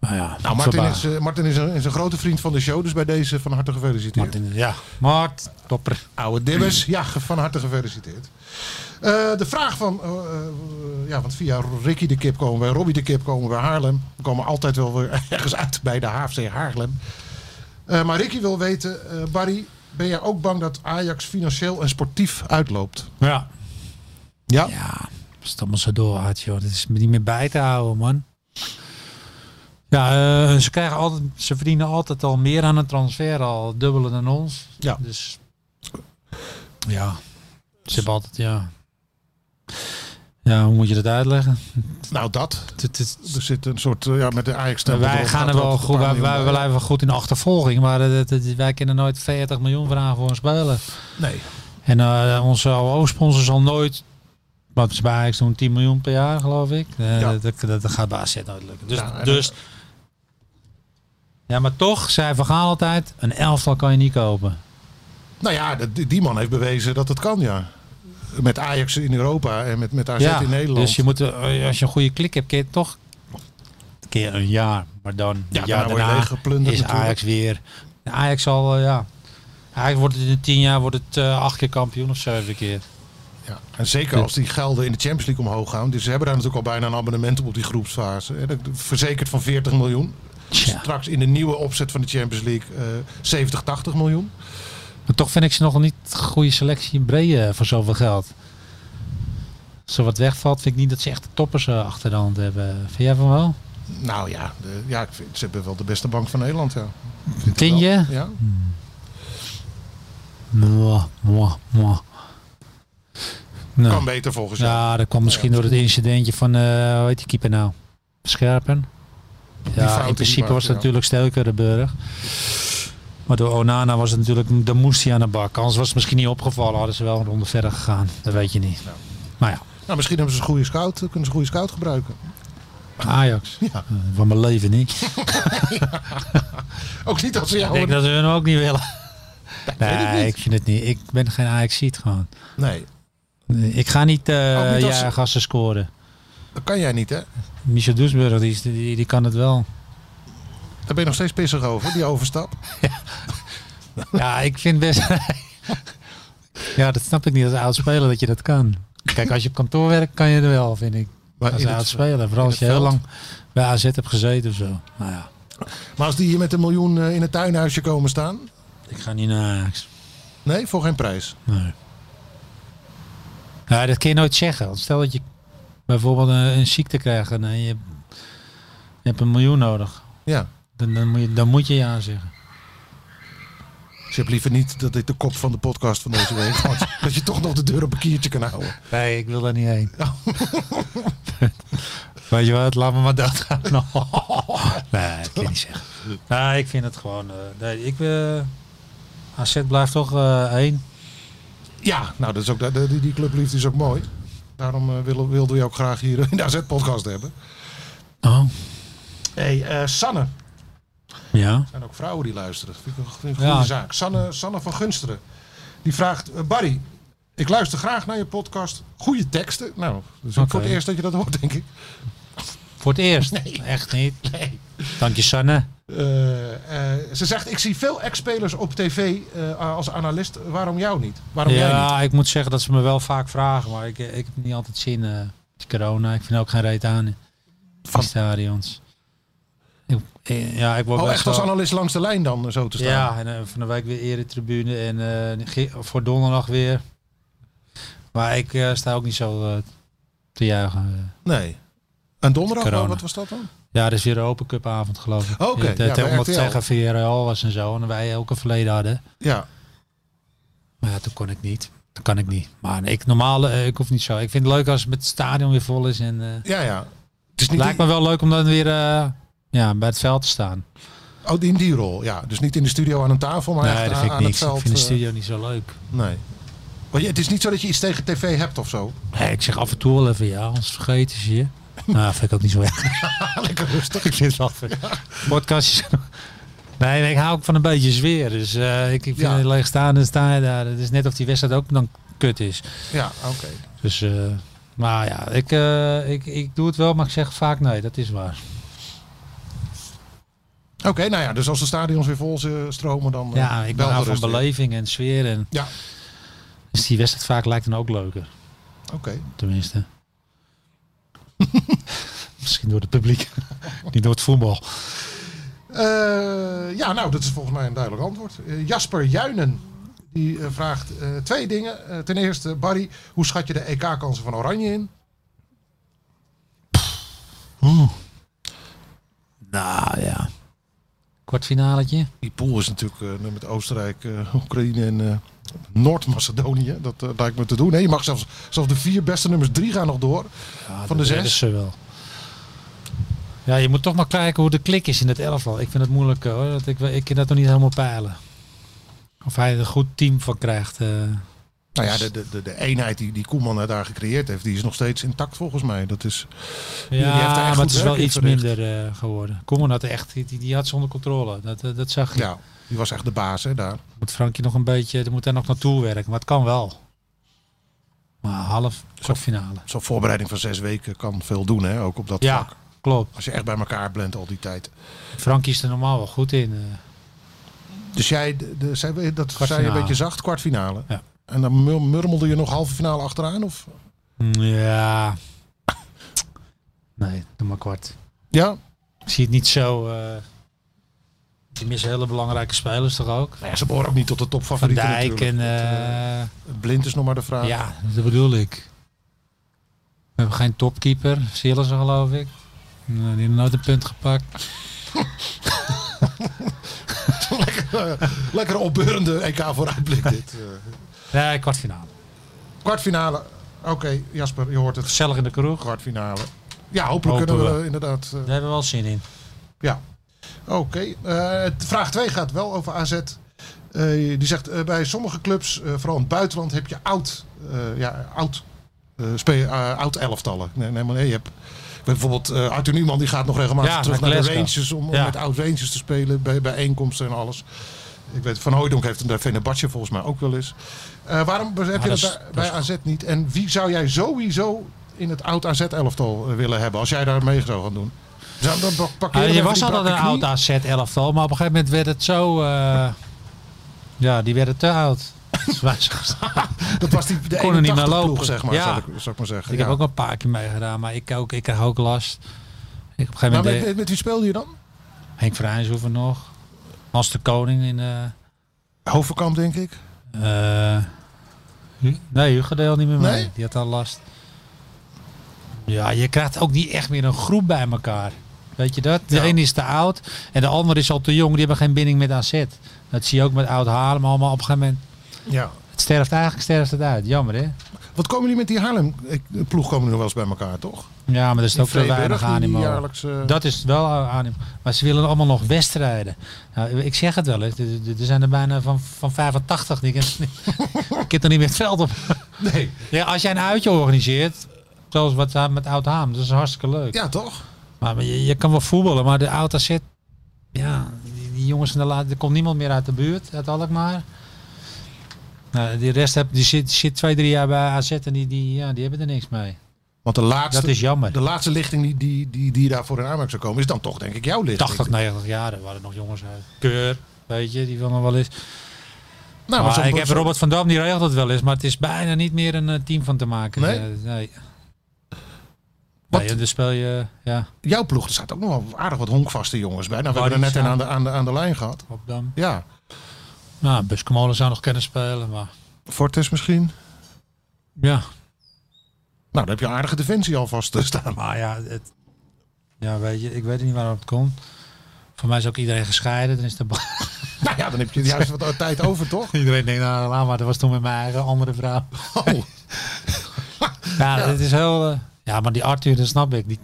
S7: Maar ja,
S6: Nou, Martin,
S7: verbaasd.
S6: is, eh, Martin is, een, is een grote vriend van de show, dus bij deze van harte gefeliciteerd.
S7: Martin, ja. Mart, topper.
S6: Oude Dibbers, ja, ge- van harte gefeliciteerd. Eh, de vraag van, eh, eh, ja, want via Ricky de Kip komen we, Robbie de Kip komen we, Haarlem. We komen altijd wel weer ergens uit bij de HFC Haarlem. Eh, maar Ricky wil weten, eh, Barry, ben jij ook bang dat Ajax financieel en sportief uitloopt?
S7: Ja.
S6: Ja.
S7: Ja, als het allemaal zo doorgaat, joh. Dat is me niet meer bij te houden, man. Ja, eh, ze, krijgen altijd, ze verdienen altijd al meer aan een transfer, al het dubbele dan ons.
S6: Ja.
S7: Dus ja, ze hebben altijd, ja. Ja, hoe moet je dat uitleggen?
S6: Nou, dat.
S7: Het- het-
S6: Er zit een soort, eh, ja, met de ajax
S7: wij gaan er wel goed, wij, wij,
S6: eh.
S7: wij blijven goed in de achtervolging, maar het- het- wij kunnen nooit 40 miljoen vragen voor een speler.
S6: Nee.
S7: En eh, onze OO-sponsor zal nooit, wat ze bij Ajax doen, 10 miljoen per jaar geloof ik. Eh,
S6: Ja.
S7: dat, dat, dat gaat bij AZ nooit lukken. Dus,
S6: Nou, en-
S7: dus, ja, maar toch, zij vergaan altijd, een elftal kan je niet kopen.
S6: Nou ja, dat- die die man heeft bewezen dat het kan, ja. Met Ajax in Europa en met, met AZ
S7: ja,
S6: in Nederland.
S7: dus je moet, eh, als je een goede klik hebt, kun je toch een keer een jaar, maar dan
S6: Ja,
S7: een
S6: daarna
S7: jaar
S6: word je
S7: daarna
S6: leeggeplunderd
S7: is
S6: natuurlijk.
S7: Ajax weer. Ajax zal, eh, ja, Ajax wordt het in 10 jaar wordt het eh, acht keer kampioen of zeven keer.
S6: Ja, en zeker als die gelden in de Champions League omhoog gaan. Dus ze hebben daar natuurlijk al bijna een abonnement op, op die groepsfase. hè. Dat- Verzekerd van 40 miljoen.
S7: Tja.
S6: Straks in de nieuwe opzet van de Champions League eh 70, 80 miljoen.
S7: Maar toch vind ik ze nog niet een goede selectie in breien voor zoveel geld. Als er wat wegvalt, vind ik niet dat ze echt de toppers eh, achter de hand hebben. Vind jij van wel?
S6: Nou ja, de- ja ik vind, ze hebben wel de beste bank van Nederland. Ja.
S7: Vind je?
S6: Wel, Ja.
S7: Mwah, mwah, mwah. Nou.
S6: Kan beter volgens jou.
S7: Ja, dat kwam misschien door het incidentje van, eh hoe heet die keeper nou? Scherpen.
S6: fout
S7: Ja,
S6: die
S7: in principe
S6: maakte,
S7: was
S6: ja.
S7: het natuurlijk Stelkerenburg. Maar door Onana was het natuurlijk, dan moest hij aan de bak. Anders was het misschien niet opgevallen, hadden ze wel een ronde verder gegaan. Dat weet je niet. Maar ja,
S6: Nou, misschien hebben ze een goede scout. Kunnen ze een goede scout gebruiken.
S7: Ajax.
S6: Ja.
S7: Eh, Van mijn leven niet.
S6: Ook niet als ze
S7: Ik
S6: jou...
S7: denk dat ze hun ook niet willen.
S6: weet ik
S7: Nee,
S6: niet.
S7: ik vind het niet. Ik ben geen Ajax-ziet gewoon.
S6: Nee,
S7: Nee, Ik ga niet,
S6: Ook
S7: eh
S6: niet als-
S7: ja, gasten scoren.
S6: dat kan jij niet hè.
S7: Michel Doesburg, die, is- die, die kan het wel.
S6: Daar ben je nog steeds pissig over, die overstap.
S7: Ja, ik vind best. ja, dat snap ik niet als oud speler dat je dat kan. Kijk, als je op kantoor werkt, kan je er wel, vind ik.
S6: Maar,
S7: Als
S6: in
S7: oud
S6: het-
S7: speler. Vooral als
S6: het
S7: je heel
S6: veld.
S7: lang bij AZ hebt gezeten of zo. Nou ja,
S6: maar als die hier met een miljoen eh, in het tuinhuisje komen staan...
S7: ik ga niet naar Ajax.
S6: Nee, voor geen prijs.
S7: Nee. Ja, dat kun je nooit zeggen. Want stel dat je bijvoorbeeld een, een ziekte krijgt en eh, je, je hebt een miljoen nodig.
S6: Ja.
S7: Dan, dan, moet je, dan moet je ja zeggen.
S6: Dus je hebt liever niet dat dit de kop van de podcast van deze week wordt. dat je toch nog de deur op een kiertje kan houden.
S7: Nee, ik wil daar niet heen. Oh. Weet je wat, laat me maar doodgaan. Nee, dat kan ik niet zeggen. Nee, ik vind het gewoon... eh, nee, ik, eh, AZ blijft toch eh één.
S6: Ja, nou, dat is ook, dat- die, die clubliefde is ook mooi. Daarom eh, willen- wilden we je ook graag hier in de AZ-podcast hebben.
S7: Oh,
S6: hey, eh, Sanne. Er
S7: ja.
S6: zijn ook vrouwen die luisteren. Vind ik een, vind ik een
S7: Ja.
S6: goede zaak. Sanne, Sanne van Gunsteren. Die vraagt, eh, Barry, ik luister graag naar je podcast. Goede teksten. Nou, dat is ook
S7: Oké.
S6: voor het eerst dat je dat hoort, denk ik.
S7: Voor het eerst? Echt niet. Dank je, Sanne.
S6: Eh, eh, ze zegt, ik zie veel ex-spelers op tv eh, als analist. Waarom jou niet? Waarom jij niet?
S7: Ja, ik moet zeggen dat ze me wel vaak vragen, maar ik, ik heb niet altijd zin. eh, Het is corona, ik vind er ook geen reet aan in die stadions. Ik, eh, ja, ik word
S6: Oh,
S7: best
S6: echt als
S7: wel-
S6: analist langs de lijn dan eh, zo te staan?
S7: Ja, en eh, van de week weer eretribune en eh, ge- voor donderdag weer. Maar ik eh, sta ook niet zo eh, te juichen.
S6: Nee. En donderdag,
S7: Corona.
S6: oh, wat was dat dan?
S7: Ja, er is weer een Open Cup avond geloof ik.
S6: Oh, oké.
S7: Dat-
S6: Ja, bij
S7: dat- Omdat
S6: RTL.
S7: tegen VRL was en zo. En wij ook een verleden hadden.
S6: Ja.
S7: Maar ja, toen kon ik niet. Dat kan ik niet. Maar ik, normaal, eh, ik hoef niet zo. Ik vind het leuk als het met het stadion weer vol is. En, eh,
S6: Ja, ja. Het is
S7: het
S6: niet
S7: lijkt
S6: die,
S7: me wel leuk om dan weer eh, ja, bij het veld te staan.
S6: oh, in die rol, ja. Dus niet in de studio aan een tafel, maar
S7: nee,
S6: echt
S7: dat
S6: aan,
S7: vind ik
S6: aan
S7: niks.
S6: het veld.
S7: ik vind de
S6: eh,
S7: studio niet zo leuk.
S6: nee. Maar je- het is niet zo dat je iets tegen tv hebt of zo.
S7: Nee, ik zeg af en toe wel even ja, anders vergeten ze je. Nou, vind ik ook niet zo erg.
S6: Lekker rustig.
S7: Ik vind het wel ver- Podcastjes. Nee, nee, ik hou ook van een beetje zweer. Dus eh, ik, ik vind
S6: Ja.
S7: het leeg staan en sta je daar. Het is net of die wedstrijd ook dan kut is.
S6: Ja, oké.
S7: Dus, eh, maar ja, ik, eh, ik, ik doe het wel, maar ik zeg vaak nee, dat is waar.
S6: Oké, nou ja, dus als de stadions weer vol eh, stromen, dan. eh,
S7: Ja, ik ben
S6: bel
S7: hou van
S6: gerust weer.
S7: beleving en sfeer. En,
S6: Ja.
S7: Dus die wedstrijd vaak lijkt dan ook leuker,
S6: Oké.
S7: tenminste. Misschien door het publiek, niet door het voetbal.
S6: Eh, ja, nou, dat is volgens mij een duidelijk antwoord. Eh, Jasper Juinen die eh, vraagt eh, twee dingen. Eh, ten eerste, Barry, hoe schat je de EK-kansen van Oranje in? Ah,
S7: Nou ja. Kwartfinaletje?
S6: Die pool is natuurlijk eh, met Oostenrijk, eh, Oekraïne en eh, Noord-Macedonië. Dat eh, lijkt me te doen. Hè? Je mag zelfs, zelfs de vier beste nummers drie gaan nog door. van de
S7: dat
S6: zes.
S7: redden ze wel. Ja, je moet toch maar kijken hoe de klik is in het elftal. Ik vind het moeilijk hoor. Dat ik, ik kan dat nog niet helemaal peilen. Of hij er een goed team van krijgt. eh.
S6: Nou ja, de, de, de, de eenheid die, die Koeman eh, daar gecreëerd heeft, die is nog steeds intact volgens mij. Dat is, die heeft er echt
S7: ja, maar
S6: goed
S7: het is wel
S6: werk in
S7: iets
S6: verricht.
S7: minder eh, geworden. Koeman had echt, die, die had zonder controle. Dat, eh, dat zag je.
S6: ja, die was echt de baas hè, daar.
S7: Moet Frankje nog een beetje, er moet daar nog naartoe werken. Maar het kan wel. Maar half kwartfinale.
S6: Zo'n voorbereiding van zes weken kan veel doen, hè? ook op dat
S7: Ja,
S6: vlak.
S7: klopt.
S6: Als je echt bij elkaar blendt al die tijd.
S7: Frankie is er normaal wel goed in. eh.
S6: Dus jij, de, de- zei, we- dat zei je een
S7: Kwartfinale.
S6: beetje zacht, kwartfinale.
S7: Ja.
S6: En dan mur- murmelde je nog halve finale achteraan? Of?
S7: Ja. Nee, doe maar kwart.
S6: Ja?
S7: Ik zie het niet zo. eh die missen hele belangrijke spelers toch ook?
S6: Nou ja, ze behoren ook niet tot de
S7: Van
S6: topfavorieten
S7: Dijk en.
S6: natuurlijk.
S7: eh,
S6: Blind is nog maar de vraag.
S7: ja, dat bedoel ik. We hebben geen topkeeper, Sillissen geloof ik. Nou, Die heeft nooit een punt gepakt.
S6: Lekker opbeurende EK vooruitblik dit. eh.
S7: Nee, kwartfinale.
S6: Kwartfinale. Oké, Jasper, je hoort het.
S7: Gezellig in de kroeg. Daar
S6: Kwartfinale. Ja, hopelijk
S7: Hopen
S6: kunnen we,
S7: we.
S6: eh, inderdaad... eh,
S7: hebben we wel zin in.
S6: Ja. Oké. Eh, vraag 2 gaat wel over AZ. Eh, die zegt, eh, bij sommige clubs, eh, vooral in het buitenland, heb je oud, eh, ja, oud, eh, spe- eh, oud elftallen. Nee, nee, maar nee, je hebt bijvoorbeeld eh, Arthur Nieuwman, die gaat nog regelmatig
S7: Ja,
S6: terug
S7: naar
S6: naar de
S7: Glasgow.
S6: Rangers om, om
S7: Ja.
S6: met oud Rangers te spelen bij bijeenkomsten en alles. Ik weet, Van Hooijdonk heeft hem bij Fenerbahce volgens mij ook wel eens. Eh, waarom heb je dat,
S7: dat is-
S6: bij,
S7: dat
S6: bij
S7: is
S6: AZ niet? En wie zou jij sowieso in het oud AZ-elftal willen hebben als jij daar mee zou gaan doen? Zou dan pak- pak
S7: Ah,
S6: even
S7: je
S6: die
S7: was
S6: brakke
S7: altijd een
S6: knie?
S7: oud AZ elftal, maar op een gegeven moment werd het zo. eh, ja, die werden te oud. Dus wij-
S6: Dat was die de
S7: Kon er niet meer
S6: 81
S7: lopen.
S6: ploeg, zeg maar,
S7: Ja.
S6: zal, ik, zal ik maar zeggen.
S7: Ik
S6: Ja.
S7: heb ook een paar keer meegedaan, maar ik, ook, ik krijg ook last. Ik, op een gegeven
S6: Nou, Maar
S7: moment
S6: met, met, met wie speelde je dan?
S7: Henk Vrijnshoeven nog. Hans de Koning in... eh
S6: Hovenkamp, denk ik.
S7: eh, Hu- nee, Hugo deed al niet meer mee.
S6: Nee?
S7: Die had al last. Ja, je krijgt ook niet echt meer een groep bij elkaar. Weet je dat? De
S6: Ja.
S7: ene is te oud en de ander is al te jong. Die hebben geen binding met AZ. Dat zie je ook met oud Haarlem allemaal op een gegeven moment.
S6: Ja.
S7: Het sterft eigenlijk sterft het uit. Jammer hè?
S6: Wat komen die met die Haarlem? Ik, de ploeg komen nu wel eens bij elkaar, toch?
S7: Ja, maar er is ook te weinig
S6: Vreeburg, die
S7: animo.
S6: jaarlijks, eh,
S7: Dat is wel aan Maar ze willen allemaal nog wedstrijden. Nou, ik zeg het wel eens. Er er- er zijn er bijna van, van 85. Die ik, ik heb er niet meer het veld op.
S6: Nee.
S7: Ja, als jij een uitje organiseert. Zoals wat daar met Oud Haam. Dat is hartstikke leuk.
S6: Ja, toch?
S7: Maar, maar je, je kan wel voetballen. Maar de Oud AZ. Ja, die, die jongens in de laatste. Er komt niemand meer uit de buurt. Uit Alkmaar. Nou, die rest heb, die zit, zit twee, drie jaar bij AZ. En die, die, ja, die hebben er niks mee.
S6: Want de laatste,
S7: Dat is jammer.
S6: De laatste lichting die, die, die, die daarvoor in aanmerking zou komen, is dan toch denk ik jouw lichting.
S7: 80, 90 jaar, er waren nog jongens uit. Keur, weet je, die wil nog wel eens.
S6: Nou,
S7: maar
S6: maar soms-
S7: ik heb
S6: soms-
S7: Robert van Dam, die regelt dat wel eens, maar het is bijna niet meer een eh, team van te maken.
S6: Nee?
S7: Eh, nee.
S6: Wat-
S7: Nee, dan speel je ja,
S6: Jouw ploeg, er zaten ook nog wel aardig wat honkvaste jongens bij. Nou, we
S7: Waar
S6: hebben er net
S7: Oh, die
S6: een
S7: staan.
S6: aan de, aan, de, aan de lijn gehad.
S7: op Dam.
S6: Ja,
S7: Nou, Buskamolen zou nog kunnen spelen, maar
S6: Fortes misschien.
S7: ja.
S6: Nou, dan heb je een aardige defensie alvast te staan.
S7: Maar ja, het, ja, weet je, ik weet niet waarom het komt. Voor mij is ook iedereen gescheiden. Dan is de bal-
S6: Nou ja, dan heb je juist wat tijd over, toch?
S7: iedereen denkt, nou, laat maar, dat was toen met mijn eigen andere vrouw.
S6: Oh.
S7: Ja, het is heel. eh, ja, maar die Arthur, dat snap ik. Die,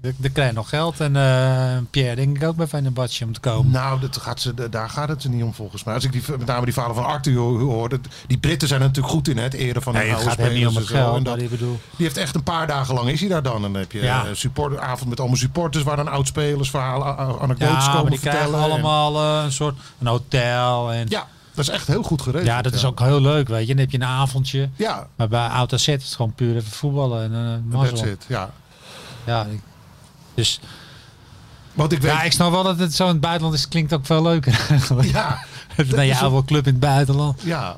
S7: die, die krijgt nog geld. En eh, Pierre, denk ik ook bij Fenerbahce om te komen.
S6: Nou, dat gaat ze, daar gaat het ze niet om volgens mij. Als ik die, met name die verhalen van Arthur hoorde. Die Britten zijn er natuurlijk goed in hè, het eren van
S7: Nee,
S6: hun
S7: het
S6: oude
S7: gaat hem niet om
S6: spelers
S7: het
S6: en zo. En
S7: geld.
S6: dat-
S7: Maar ik bedoel.
S6: Die heeft echt een paar dagen lang is hij daar dan. En dan heb je eh,
S7: Ja.
S6: een supporteravond met allemaal supporters waar dan oud-spelers verhalen, a- a- anekdotes
S7: Ja, maar
S6: komen
S7: die krijgen
S6: vertellen. En-
S7: allemaal eh, een soort een hotel. En, ja,
S6: ja, dat is echt heel goed geregeld.
S7: dat is ook heel leuk, weet je. Dan heb je een avondje.
S6: Ja,
S7: Maar bij Oud AZ is het gewoon puur even voetballen en een
S6: that's
S7: mazzel.
S6: it. Ja.
S7: Ja, ik- dus
S6: Want ik weet...
S7: ja, ik snap wel dat het zo in het buitenland is. Klinkt ook veel leuker.
S6: ja,
S7: Naar je
S6: is een-
S7: oude club in het buitenland.
S6: ja.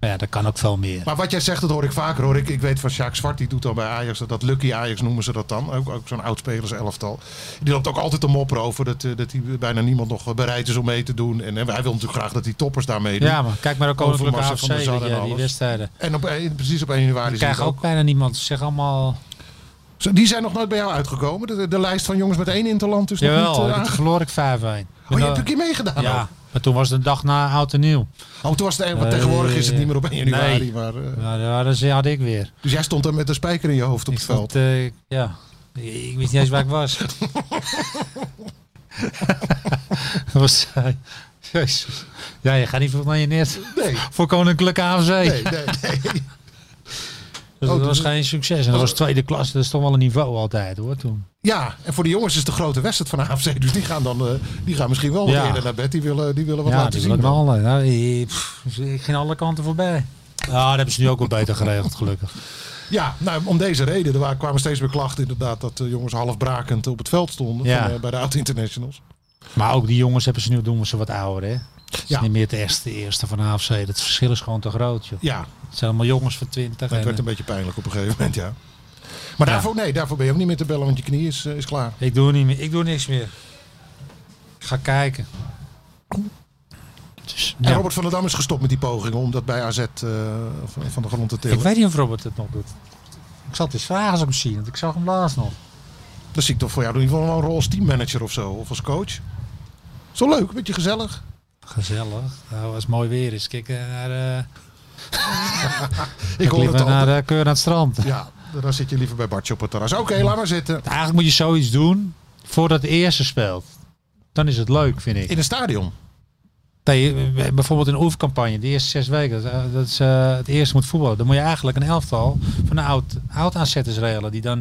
S7: Maar ja, dat kan ook veel meer.
S6: Maar wat jij zegt, dat hoor ik vaker hoor. Ik, ik weet van Sjaak Zwart, die doet dan bij Ajax, dat, dat Lucky Ajax noemen ze dat dan. Ook, ook zo'n oud-spelerselftal. Die loopt ook altijd de mopper over dat, eh, dat die bijna niemand nog eh, bereid is om mee te doen. En, eh, hij wil natuurlijk graag dat die toppers daar meedoen.
S7: Ja, maar kijk maar ook Koninklijke
S6: Overmars en
S7: AFC,
S6: Van der Sar
S7: weet
S6: en
S7: je, die
S6: alles.
S7: wedstrijden.
S6: En op, één- precies op 1 januari
S7: Die
S6: zie ik
S7: krijgen ook bijna niemand. Ze zeggen allemaal...
S6: Zo, Die zijn nog nooit bij jou uitgekomen. De, de lijst van jongens met één interland is nog
S7: Jawel,
S6: niet eh,
S7: dat
S6: aange-
S7: verloor ik 5-1.
S6: Oh, je
S7: Ben al-
S6: hebt een keer Oh. meegedaan.
S7: Ja,
S6: ook.
S7: maar toen was het een dag na Oud en Nieuw. Eh,
S6: Oh, toen was het, want tegenwoordig is het niet meer op 1 januari.
S7: Nee.
S6: Maar, eh,
S7: Ja, daar hadden ze- had ik weer.
S6: dus jij stond daar met een spijker in je hoofd op
S7: Ik
S6: het veld.
S7: stond, eh, ja, ik ik wist niet eens waar ik was. Dat was... eh, Jezus. Ja, je gaat niet voor naar je net.
S6: Nee,
S7: Voor Koninklijke AFC.
S6: nee, nee. nee.
S7: Dus
S6: Oh,
S7: dat
S6: dus
S7: was
S6: het-
S7: geen succes. En dat was tweede klasse. Dat is toch wel een niveau altijd hoor toen.
S6: Ja, en voor de jongens is de grote wedstrijd van AFC. Dus die gaan, dan, eh, die gaan misschien wel wat
S7: Ja.
S6: eerder naar bed. Die willen, die willen wat
S7: ja,
S6: laten
S7: die
S6: zien.
S7: willen
S6: dan.
S7: knallen. Nou, eh, pff, ik ging alle kanten voorbij. Ja, dat hebben ze nu ook wel beter geregeld gelukkig.
S6: Ja, nou, om deze reden. Er wa- kwamen steeds meer klachten inderdaad dat de jongens half brakend op het veld stonden.
S7: Ja.
S6: van, eh, bij de Oud Internationals.
S7: Maar ook die jongens hebben ze nu doen ze wat ouder hè. Het is
S6: Ja.
S7: niet meer het eerste, eerste van AFC. Dat verschil is gewoon te groot joh.
S6: Ja,
S7: Het zijn allemaal jongens van 20.
S6: het
S7: En,
S6: werd een beetje pijnlijk op een gegeven moment, ja. Maar
S7: Ja.
S6: daarvoor, nee, daarvoor ben je ook niet meer te bellen, want je knie is, eh, is klaar.
S7: eh, ik doe niet meer. Ik doe niks meer. Ik ga kijken. Dus,
S6: En
S7: ja.
S6: Robert van der Dam is gestopt met die pogingen om dat bij AZ eh, van, van de grond te tillen.
S7: Ik weet niet of Robert het nog doet. eh, Ik zal het eens vragen als ik hem zie. Want ik zag hem laatst nog.
S6: Dat zie ik toch voor jou in ieder geval wel een rol als teammanager of zo. Of als coach. Zo leuk, een beetje gezellig.
S7: Gezellig. Nou, als het mooi weer is. Kijk eh, naar, eh,
S6: Ik hoor het
S7: liever
S6: al.
S7: naar de keur aan het strand.
S6: Ja, dan zit je liever bij Bartje op het terras. Oké, laat maar zitten.
S7: Eigenlijk moet je zoiets doen voordat de eerste speelt. Dan is het leuk, vind ik.
S6: In een stadion.
S7: Nee, eh, bijvoorbeeld in een oefencampagne, de eerste zes weken, dat, eh, dat is, eh, het eerste moet voetballen. Dan moet je eigenlijk een elftal van de oud, oud aanzetters regelen. Die dan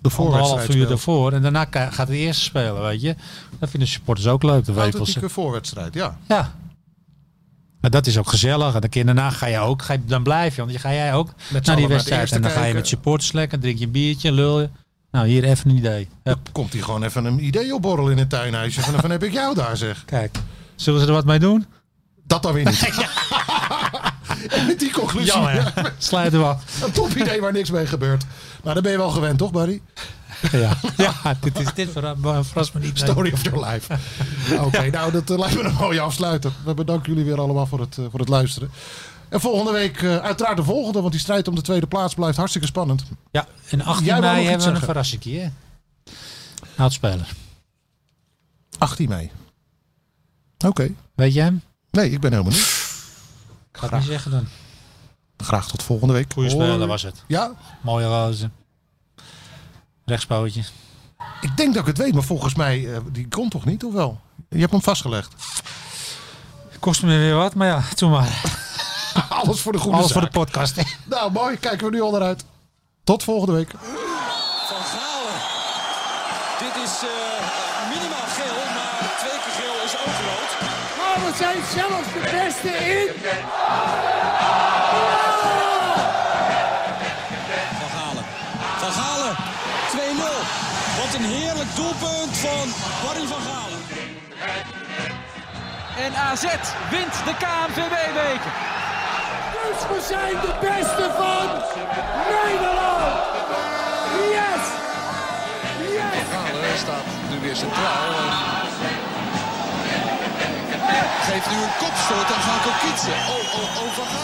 S6: De
S7: anderhalf uur
S6: voorwedstrijd.
S7: ervoor en daarna ka- gaat de eerste spelen, weet je. Dat vinden supporters ook leuk, dat weet ik wel.
S6: Authentieke voorwedstrijd, ja.
S7: Ja. Maar dat is ook gezellig. En de keer daarna ga je ook, ga je, dan blijf je. Want je ga jij ook naar
S6: allen naar
S7: die
S6: de
S7: wedstrijd.
S6: eerste
S7: En dan ga je
S6: kijken.
S7: met supporters lekker, drink je een biertje, lul je. Nou, hier even een idee. Hup.
S6: Komt hij gewoon even een idee opborrelen in het tuinhuisje. Van, van heb ik jou daar zeg.
S7: Kijk, zullen ze er wat mee doen?
S6: Dat dan weer niet. En met die conclusie.
S7: Sluiten we af.
S6: Een top idee waar niks mee gebeurt. Maar daar ben je wel gewend toch Barry?
S7: Ja, ja dit, is, dit verra- verrast me niet. nee.
S6: Story of your life. Oké, nou dat eh, lijkt me een mooie afsluiter. We bedanken jullie weer allemaal voor het, eh, voor het luisteren. En volgende week eh, uiteraard de volgende. Want die strijd om de tweede plaats blijft hartstikke spannend.
S7: Ja, en 18
S6: Jij wou nog iets
S7: mei hebben we een
S6: zeggen?
S7: verrassingje. hè? Oudspeler.
S6: 18 mei. Oké.
S7: Weet jij hem?
S6: Nee, ik ben helemaal niet.
S7: Ik ga het niet zeggen dan.
S6: Graag tot volgende week.
S7: Goeie
S6: Hoi.
S7: speler was het.
S6: Ja,
S7: Mooie rozen. Rechtspootje.
S6: ik denk dat ik het weet, maar volgens mij, eh, die kon toch niet, of wel? Je hebt hem vastgelegd.
S7: Kost me weer wat, maar ja, toen maar.
S6: Alles voor de goede
S7: Alles voor de
S6: zaak.
S7: podcast. hè.
S6: Nou, mooi. Kijken we nu al naar uit. Tot volgende week.
S1: Van Galen. Dit is eh, minimaal geel, maar twee keer geel is ook rood.
S2: Maar we zijn zelfs de beste in.
S1: Van Galen. Wat een heerlijk doelpunt van Barry van Galen.
S3: En AZ wint de KNVB-week.
S2: Dus we zijn de beste van Nederland! Yes! Yes!
S4: Galen eh, staat nu weer centraal. eh. En... Geef nu een kopstoot aan Gaan Kokitsen. Oh, oh, oh, Van Galen.